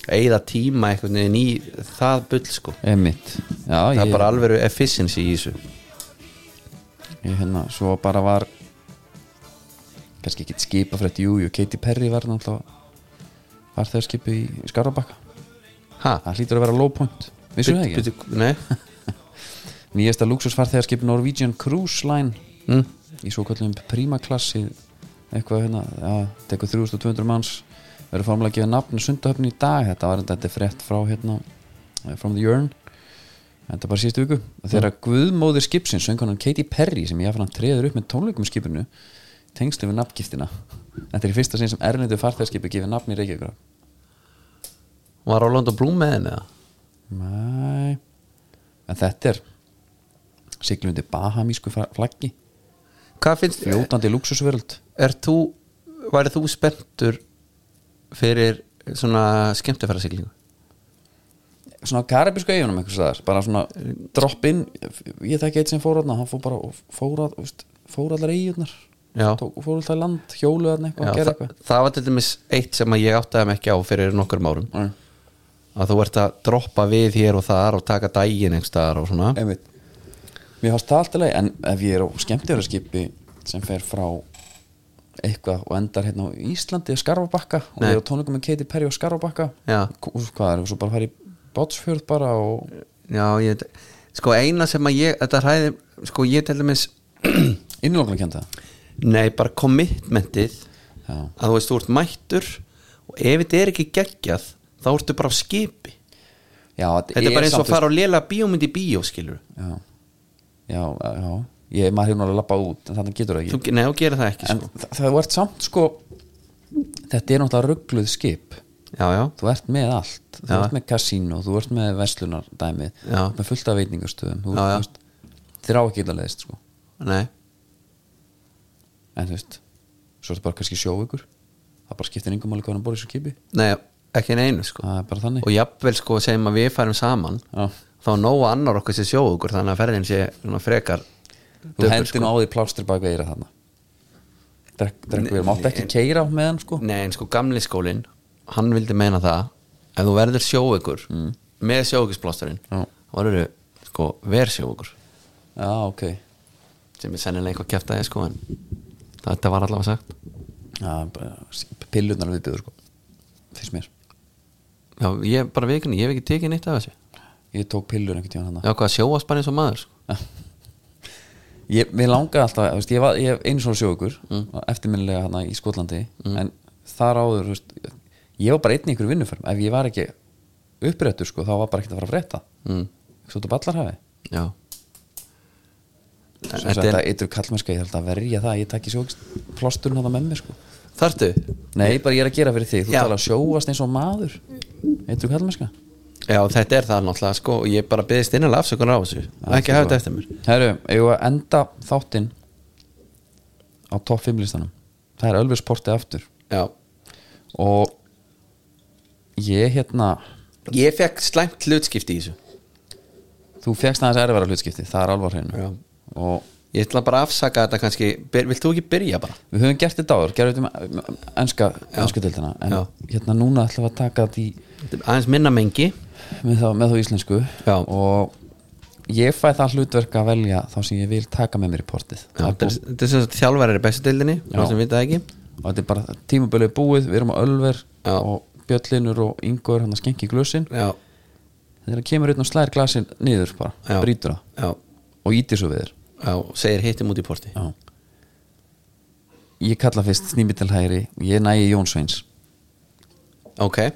S2: eigða tíma einhvern veginn í það bull sko
S1: emitt já,
S2: það
S1: ég,
S2: er bara alveg efficiency í þessu
S1: ég, hérna, svo bara var kannski ekki skipa frétt jú, jú, Katy Perry var náttúrulega var þegar skipu í Skarabakka
S2: ha,
S1: það hlýtur að vera low point vissu það ekki?
S2: Bíddu- nei,
S1: Nýjasta luxusfarþegarskip Norwegian Cruise Line
S2: Mm.
S1: í svo kallum primaklassi eitthvað hérna, já, tekur 3200 manns verður formulega að gefa nafn sundahöfn í dag, þetta var þetta er frétt frá hérna, eh, from the urn þetta er bara síðustu viku og þegar guðmóðir skipsins, söngunan Katy Perry sem ég hann treður upp með tónleikum í skipinu tengslu við nafngiftina þetta er í fyrsta sinn sem erlendu farþegarskipi gefið nafn í Reykjavík
S2: var Róland og Blúm með henni eða?
S1: Nei En þetta er siglundi bahamísku fa- flaggi
S2: hvað finnst
S1: fljótandi luxusveröld
S2: er þú, værið þú spenntur fyrir svona skemmtifæra siglingu?
S1: svona á karabísku eigunum einhvers staðar bara svona drop in ég þekki eitt sem fór þarna, hann fór bara og fór, að, veist, fór allar eigunar
S2: Já,
S1: tók, fór alltaf land, hjólu þarna eitthvað,
S2: já
S1: gerði
S2: það,
S1: eitthvað
S2: það var til dæmis eitt sem að ég áttaði mig ekki á fyrir nokkur árum
S1: Mm.
S2: að þú ert að droppa við hér og þar og taka daginn einhvers staðar og svona
S1: einmitt mér hafst það alltaf leið, en ef ég er á skemmtjörðarskipi sem fer frá eitthvað og endar hérna á Íslandi eða Skarfabakka og
S2: Nei.
S1: ég er á tónleikum með Katy Perry og Skarfabakka
S2: Já.
S1: hvað er, og svo bara fara í Bátsfjörð bara og
S2: Já, ég, sko eina sem að ég þetta hræði, sko ég til dæmis
S1: innlóknum kenda
S2: nei, bara commitmentið
S1: já,
S2: að þú veist, þú ert mættur og ef þetta er ekki geggjað þá ertu bara á skipi
S1: já
S2: þetta er bara eins og
S1: samt-
S2: að fara á lélega bíómynd í bíó, skilur
S1: já, já, já ég, maður hefur náttúrulega að lappa út en þannig getur það ekki
S2: þú, nei, þú gerir það ekki,
S1: en
S2: sko
S1: þa- það vart samt sko þetta er náttúrulega ruggluð skip
S2: já, já,
S1: þú ert með allt, þú
S2: Já.
S1: ert með kasínu þú ert með verslunardæmi
S2: Já.
S1: með fullt af veitingastöðum þú,
S2: Já,
S1: þú
S2: já.
S1: veist, þér á ekki illa leðist sko.
S2: nei
S1: en þú veist, svo er þetta bara kannski sjóvíkur það bara skiptir engum máli hvað hann borðið svo kipi
S2: nei, ekki neinu sko
S1: það er bara þannig
S2: og jafnvel sko, segjum að við færum saman
S1: Já.
S2: þá nóa annar okkur sem sjóugur þannig að ferðin sé svona frekar
S1: þú
S2: döpur, sko.
S1: hendir nú á því plástur bak veira þarna drekk, drekk við, mátt ekki keira með hann sko
S2: Nei, en sko gamli skólinn hann vildi meina það ef þú verður sjóugur með sjóugisblásturinn
S1: Mm. Já.
S2: þá verður sko ver sjóugur
S1: já, ok,
S2: sem er sennilega eitthvað kæft aðeins sko en þetta var allavega sagt
S1: já, pillunar viðbjöður sko fyrst mér,
S2: Já, ég bara vikni, ég hef ekki tekið neitt af þessu
S1: ég tók pillur einhvern tíma hann
S2: Já, hvað sjóast bara eins og maður sko.
S1: ég, mér langaði alltaf þú veist, ég, var, ég hef einu svona sjókur mm. eftirminnilega hana í Skotlandi
S2: Mm.
S1: en þar áður þú veist, ég var bara einn í einhverju vinnuferm ef ég var ekki upprættur sko, þá var bara ekkert að fara að frétta
S2: Mm.
S1: svo þetta ballarhafi
S2: Já
S1: Svo
S2: Þetta
S1: þetta
S2: er,
S1: ytur kallmennska, ég þarf að verja það ég takk í sjókist plásturinn hana með mér sko
S2: þarftu?
S1: nei, bara ég er að gera fyrir þig, þú
S2: Já.
S1: talar að sjóast eins og maður ytur kallmennska
S2: Já, þetta er það náttúrulega sko og ég bara byggðist innilega afsökunar á þessu ekki hafa þetta eftir mér
S1: herru, ég var enda þáttinn á topp 5 listanum það er Ölfur sportið aftur
S2: Já,
S1: og ég hérna
S2: ég fekk slæmt hlutskipti í þessu
S1: þú fegst aðeins erfara hlutskipti, það er alvar hreinu
S2: Já.
S1: og
S2: Ég ætla bara að afsaka þetta kannski byr, Vilt þú ekki byrja bara?
S1: við höfum gert þetta áður gerðum þetta um enska, enska deildina en
S2: Já.
S1: hérna núna ætlum við að taka þetta í
S2: Aðeins minna mengi
S1: með þá, með þá íslensku
S2: Já.
S1: og ég fæ það hlutverk að velja þá sem ég vil taka með mér í portið Það er
S2: Þetta er þetta er sem sagt þjálfarar í bestu deildinni
S1: Já.
S2: Það sem við það ekki
S1: og þetta er bara tímabilið búið, við erum á Ölver
S2: Já.
S1: og Bjöllinur og Ingur hann að skenki glösin
S2: Já,
S1: þegar það kemur einn og slæðir glasin niður bara,
S2: Já.
S1: brýtur það
S2: já,
S1: og ítir svo við þér
S2: já Segir hittum út í porti
S1: Já Ég kalla fyrst snými til hægri Ég nægi Jón Sveins
S2: Ok,
S1: Ég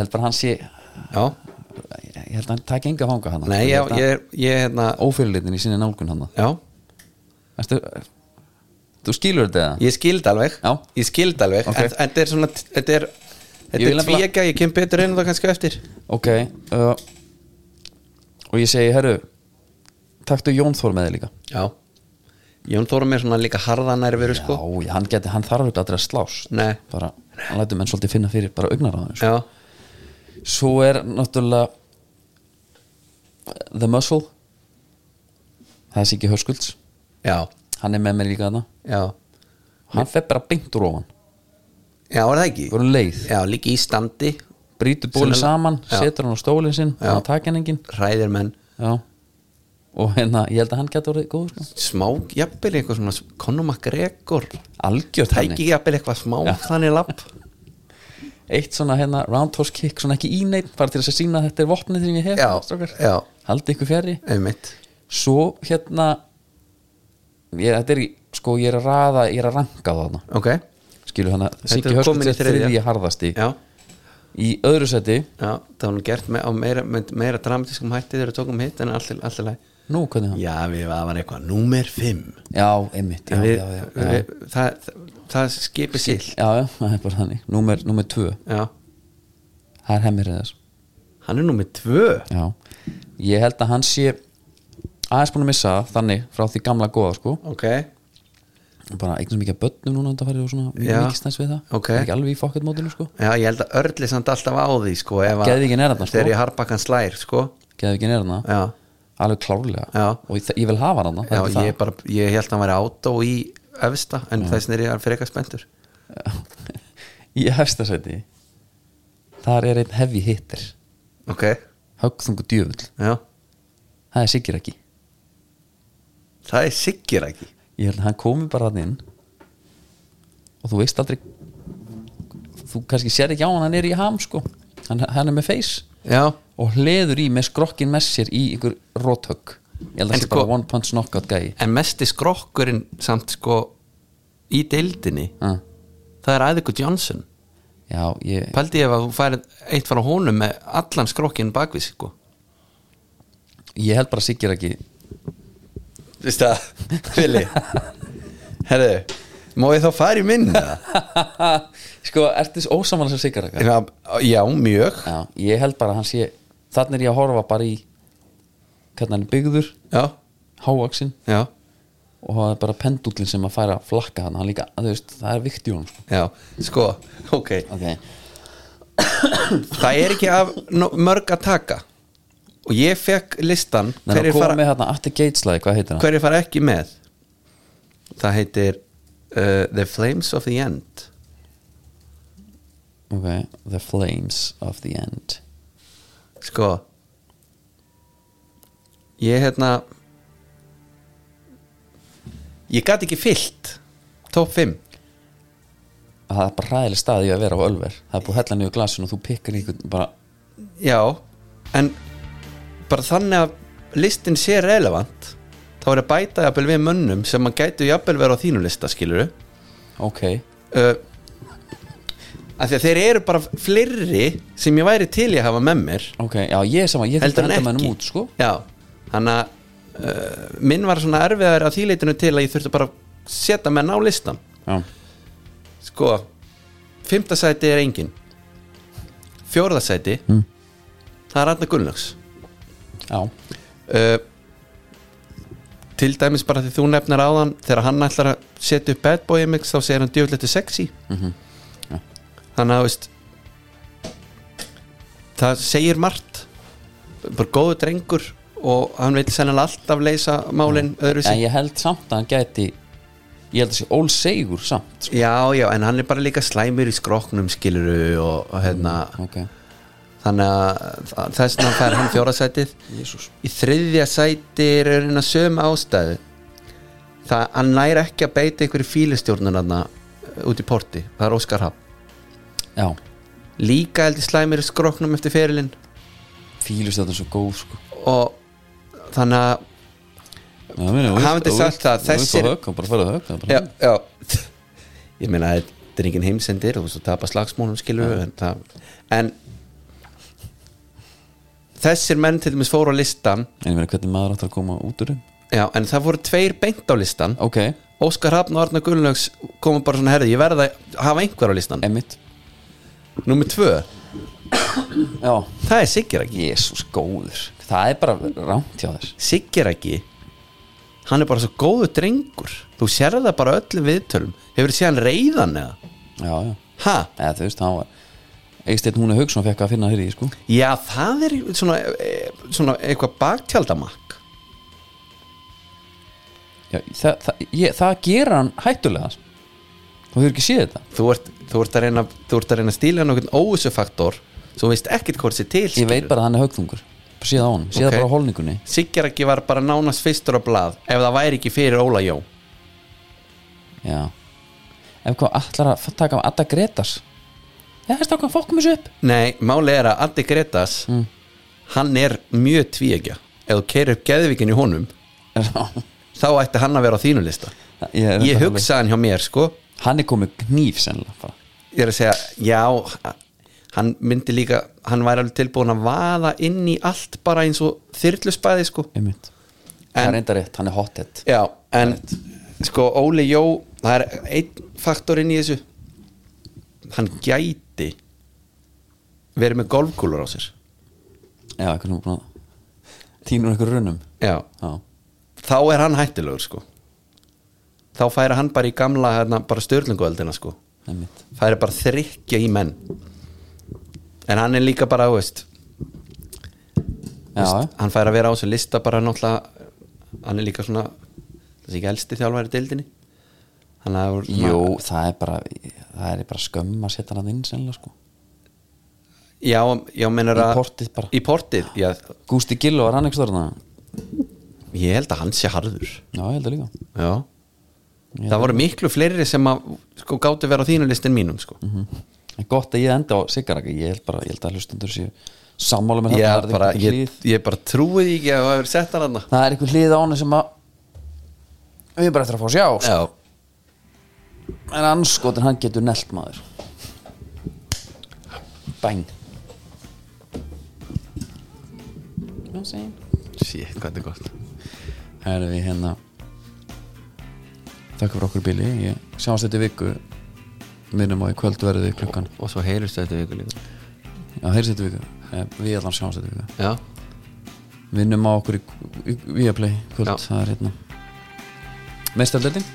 S1: held bara hann sé
S2: já
S1: Ég held að hann takk enga fanga hann
S2: Nei, já, ég er, ég er hérna
S1: Ófyrirlitin í sinni nálgun hann
S2: Já,
S1: Ertu Þú skilur þetta eða?
S2: ég skild alveg
S1: Já.
S2: Ég skild alveg
S1: Ok.
S2: En en þetta er svona Þetta er,
S1: Ég
S2: þetta
S1: vil
S2: er
S1: nefnilega-
S2: tvíegja Ég kem betur inn á það kannski á eftir
S1: Ok uh, Og ég segi, herru Taktu Jón Þór með þig líka
S2: Já Jón Þórum er svona líka harðanærveru sko
S1: Já, já, hann, geti, hann þarf auðvitað aldrei að slást
S2: Nei.
S1: Bara, hann lætur menn svolítið finna fyrir bara sko. augnar á hann
S2: Já,
S1: Svo er náttúrulega uh, The Muscle Það er Siggi Höskulds
S2: já,
S1: Hann er með mér líka þarna
S2: já
S1: Hann fer bara beint úr ofan
S2: Já, er það ekki?
S1: Hvernig leið
S2: Já, líka í standi
S1: Brýtur bólið
S2: Sennilega-
S1: saman,
S2: Já.
S1: setur hann á stólinn sinn
S2: Já.
S1: Hann takk hann engin
S2: Ræðir menn
S1: Já Og hérna, ég held að hann gæti orðið góð sko.
S2: smá, jafnvel eitthvað svona Konumak rekord,
S1: Algjört hann
S2: tæki jafnvel eitthvað smá þannig lapp,
S1: Eitt svona hérna, roundhouse kick, svona ekki íneitt Bara til þess að sína að þetta er vopnið sem ég hef
S2: Já,
S1: strákar.
S2: já.
S1: Haldið ykkur fjari
S2: einmitt
S1: Svo hérna ég, Þetta er í, sko, ég er að raða Ég er að ranka það þarna
S2: ok,
S1: Skilur hann að
S2: er
S1: Siggi
S2: komin í
S1: Hörskvölds er
S2: þriðja.
S1: þriðji harðasti
S2: já,
S1: Í öðru seti,
S2: já það var nú gert með, á meira, með meira dramatískum hætti þegar við tókum hitt en allir, allir læg
S1: nú hvernig það
S2: já, við það var eitthvað, númer 5
S1: Já, einmitt, já, já, já, já.
S2: það, það, það skipi sill
S1: Já, já, það er bara þannig Númer, númer tvö,
S2: já,
S1: það er hemmir eðas
S2: hann er númer 2
S1: Já, ég held að hann sé aðeins búin að missa það, þannig frá því gamla góða sko
S2: ok,
S1: bara eignast mikið af börnum núna þetta farið og svona mjög
S2: Já.
S1: mikið stens við það
S2: Ok.
S1: Það er ekki alveg í fokkett mótinu sko
S2: já, ég held að örli samt alltaf á því, sko, ef að
S1: Geðvíkin er þarna, sko.
S2: þegar ég harpakkan slær, sko
S1: geði ekki neyra hana,
S2: já,
S1: alveg klárlega
S2: Já.
S1: og ég, ég vil hafa hana
S2: já,
S1: það er
S2: ég
S1: ekki
S2: bara, ég held að hann væri átó í öfsta, en þess er ég fyrir eitthvað spenntur
S1: það í hefstasæti þar er einn heavy hitter
S2: ok,
S1: högþungu djöfull,
S2: já
S1: það er sikkir ekki
S2: það er sikkir ekki
S1: ég held að hann komi bara hann inn og þú veist aldrei þú kannski sér ekki á hann hann er í ham sko, hann, hann er með face
S2: já,
S1: og hleður í með skrokkin með sér í ykkur róthögg ég held að
S2: En
S1: það sé
S2: sko-
S1: bara one punch knockout gæi
S2: en mesti skrokkurinn samt sko í deildinni
S1: Ah,
S2: það er Æðikur Johnson
S1: já, ég,
S2: pældi ég ef að þú færið eitt frá honum með allan skrokkinn bakvið sig, sko
S1: ég held bara að sikkir ekki
S2: veist það, Vili herðu, Má ég þá fara í minna?
S1: sko, ertu þessu ósamann sem sigarakar
S2: Já, já, mjög
S1: Já, ég held bara að hann sé þannig er ég að horfa bara í hvernig hann er byggður,
S2: Já,
S1: hávaxin
S2: já,
S1: og það er bara pendullin sem að færa að flakka hann, hann líka, þú veist, það er vikt í honum sko.
S2: já, sko Ok,
S1: ok,
S2: það er ekki af no- mörg að taka Og ég fekk listan
S1: þannig að
S2: Hverjir
S1: koma
S2: fara,
S1: með hérna Atti Gateslagi, hvað heitir hann?
S2: hverjir fara ekki með Það heitir uh, The Flames of the End
S1: ok, The Flames of the End
S2: Sko Ég hérna Ég gat ekki fyllt Top 5
S1: það er bara hræðileg staði að vera á Ölver það er búið að hella niður glasin og þú pikkar einhvern bara,
S2: Já, en bara þannig að listin sé relevant þá er að bæta jafnvel við mönnum sem að gætu jafnvel vera á þínu lista skilur uh,
S1: ok
S2: af Eh, því að þeir eru bara fleiri sem ég væri til í að hafa með mér
S1: ok, já, ég er saman, ég þurfti
S2: heldur
S1: að
S2: en
S1: henda með
S2: ekki
S1: hann út sko.
S2: Já, hann að uh, minn var svona erfiðar að þýleitinu til að ég þurfti bara að setja menn á listan
S1: já,
S2: sko, fymta sæti er engin fjórða sæti
S1: Mm.
S2: það er Arna Gunnlaugs
S1: já,
S2: uh, til dæmis bara því þú nefnir áðan þegar hann ætlar að setja upp bad boy mix þá segir hann djöflættu sexy þannig að þú veist það segir margt bara góðu drengur og hann vil sennilega alltaf leysa málin öðru
S1: en
S2: sér
S1: ég held samt að hann gæti ég held að sé ól segur samt sko.
S2: já, já, en hann er bara líka slæmur í skroknum skiluru og, og hérna
S1: ok,
S2: þannig að þessna fær hann fjóra sætið
S1: jésús
S2: í þriðja sæti er einna söm ástæðu það hann næri ekki að beita einhverju fílistjórnun hann út í porti, það er Óskar Hafn
S1: já,
S2: líka heldur slæmir í skroknum eftir ferilinn
S1: fýlust þetta er svo góð sko.
S2: og þannig að
S1: Já, ég meina, þú
S2: Hann
S1: vilt-
S2: myndi
S1: þú
S2: sagt
S1: vilt-
S2: það,
S1: þú vilt
S2: þessir-
S1: fá högg, hann bara farið að högg hann bara-
S2: já, já, ég meina þetta er enginn heimsendir og þú tapar slagsmónum skilur en, það, en þessir menn til dæmis fóru á listan
S1: en ég meina hvernig maður áttur að koma út úr þeim
S2: já, en það voru tveir beint á listan
S1: ok,
S2: Óskar Hafn og Arna Gullnöks komum bara svona herði, ég verði að hafa einhver á listan
S1: Emmitt
S2: Númer tvö,
S1: já,
S2: það er Siggeraki
S1: jésús góður það er bara rámt hjá þess
S2: Siggeraki, hann er bara svo góðu drengur Þú sér það bara á öllum viðtölum Hefur séð hann reyðan eða?
S1: já, já,
S2: Ha?
S1: eða þú veist, hann var Eisteinn Húni Haugsson fekk að finna þér í, sko
S2: Já, það er svona, eh, svona eitthvað baktjaldamakk
S1: já, það, það, ég, það gera hann hættulega þú hefur ekki séð þetta
S2: þú ert, þú, ert að reyna, þú ert að reyna að stíla hann okkur óvissufaktor Svo veist ekkert hvort sér til
S1: ég veit bara að hann er haugþungur séð á hann, séð
S2: Ok.
S1: okay. bara á holningunni
S2: Siggeraki var bara nánast fyrstur á blað Ef það væri ekki fyrir Óla Jó
S1: já ef hvað allar að taka af Adda Gretas já, það er stakkan, fokkum þessu upp
S2: Nei, máli er að Addi Gretas
S1: Mm.
S2: Hann er mjög tvíegja Ef þú keirir upp geðvikin í honum Þá ætti hann að vera á þínu lista
S1: ég, er
S2: Ég
S1: þetta alveg-
S2: hugsa hann hjá mér sko
S1: hann er komið knýf sennilega bara.
S2: Ég er að segja, já Hann myndi líka, hann væri alveg tilbúin að vaða inn í allt bara eins og þyrlusbæði sko
S1: einmitt það
S2: En-
S1: er enda rétt, hann er hothead
S2: Já, en sko Óli Jó, það er einn faktor inn í þessu Hann gæti verið með golfkúlur á sér
S1: já, eitthvað nú búin að tínur eitthvað runum
S2: Já,
S1: já,
S2: þá er hann hættilegur sko þá færi hann bara í gamla hérna, bara stjörlinguöldina sko
S1: einmitt
S2: færi bara þrykkja í menn en hann er líka bara þú veist,
S1: já, já,
S2: hann færi að vera á þessu lista bara náttúrulega hann er líka svona þessi ekki elsti þjálfæri deildinni hann er
S1: jú, það er bara það er bara skömm að setja hann inn sennilega sko
S2: já, já meinar
S1: Í
S2: að
S1: portið bara.
S2: í portið, já,
S1: Gústi Gillo var hann ekki stórna
S2: ég held að hann sé harður
S1: já, ég held að líka
S2: já það voru miklu fleiri sem að sko gáttu vera á þínu listin mínum sko
S1: Mhm. en gott að ég enda á Sigaraka ég held bara, ég held að hlustundur séu sammála með
S2: ég,
S1: það er
S2: bara,
S1: einhver
S2: ég,
S1: hlið-
S2: ég bara trúi því ekki að það hefur sett hann hann
S1: það er einhver hlið á hann sem að við erum bara eftir að fá að sjá sko.
S2: Já,
S1: en anskotin hann getur nelt maður bæn
S2: sítt, hvað þetta er gott
S1: það er við hérna þakka fyrir okkur bíli ég sjáast þetta í viku minnum á í kvöld verði klukkan
S2: og svo heyrist þetta ykkur líka
S1: já, heyrðu þetta í viku, Eh, við allan sjáast þetta í viku
S2: já,
S1: minnum á okkur í, í, í að play kvöld,
S2: Já.
S1: það er hérna meðstældeldin,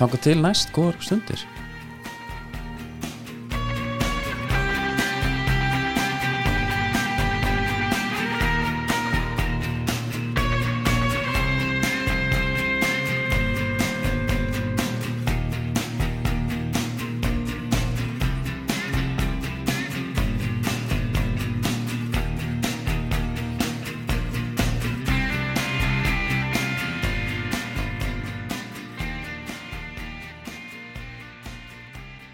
S1: þangað til næst góðar stundir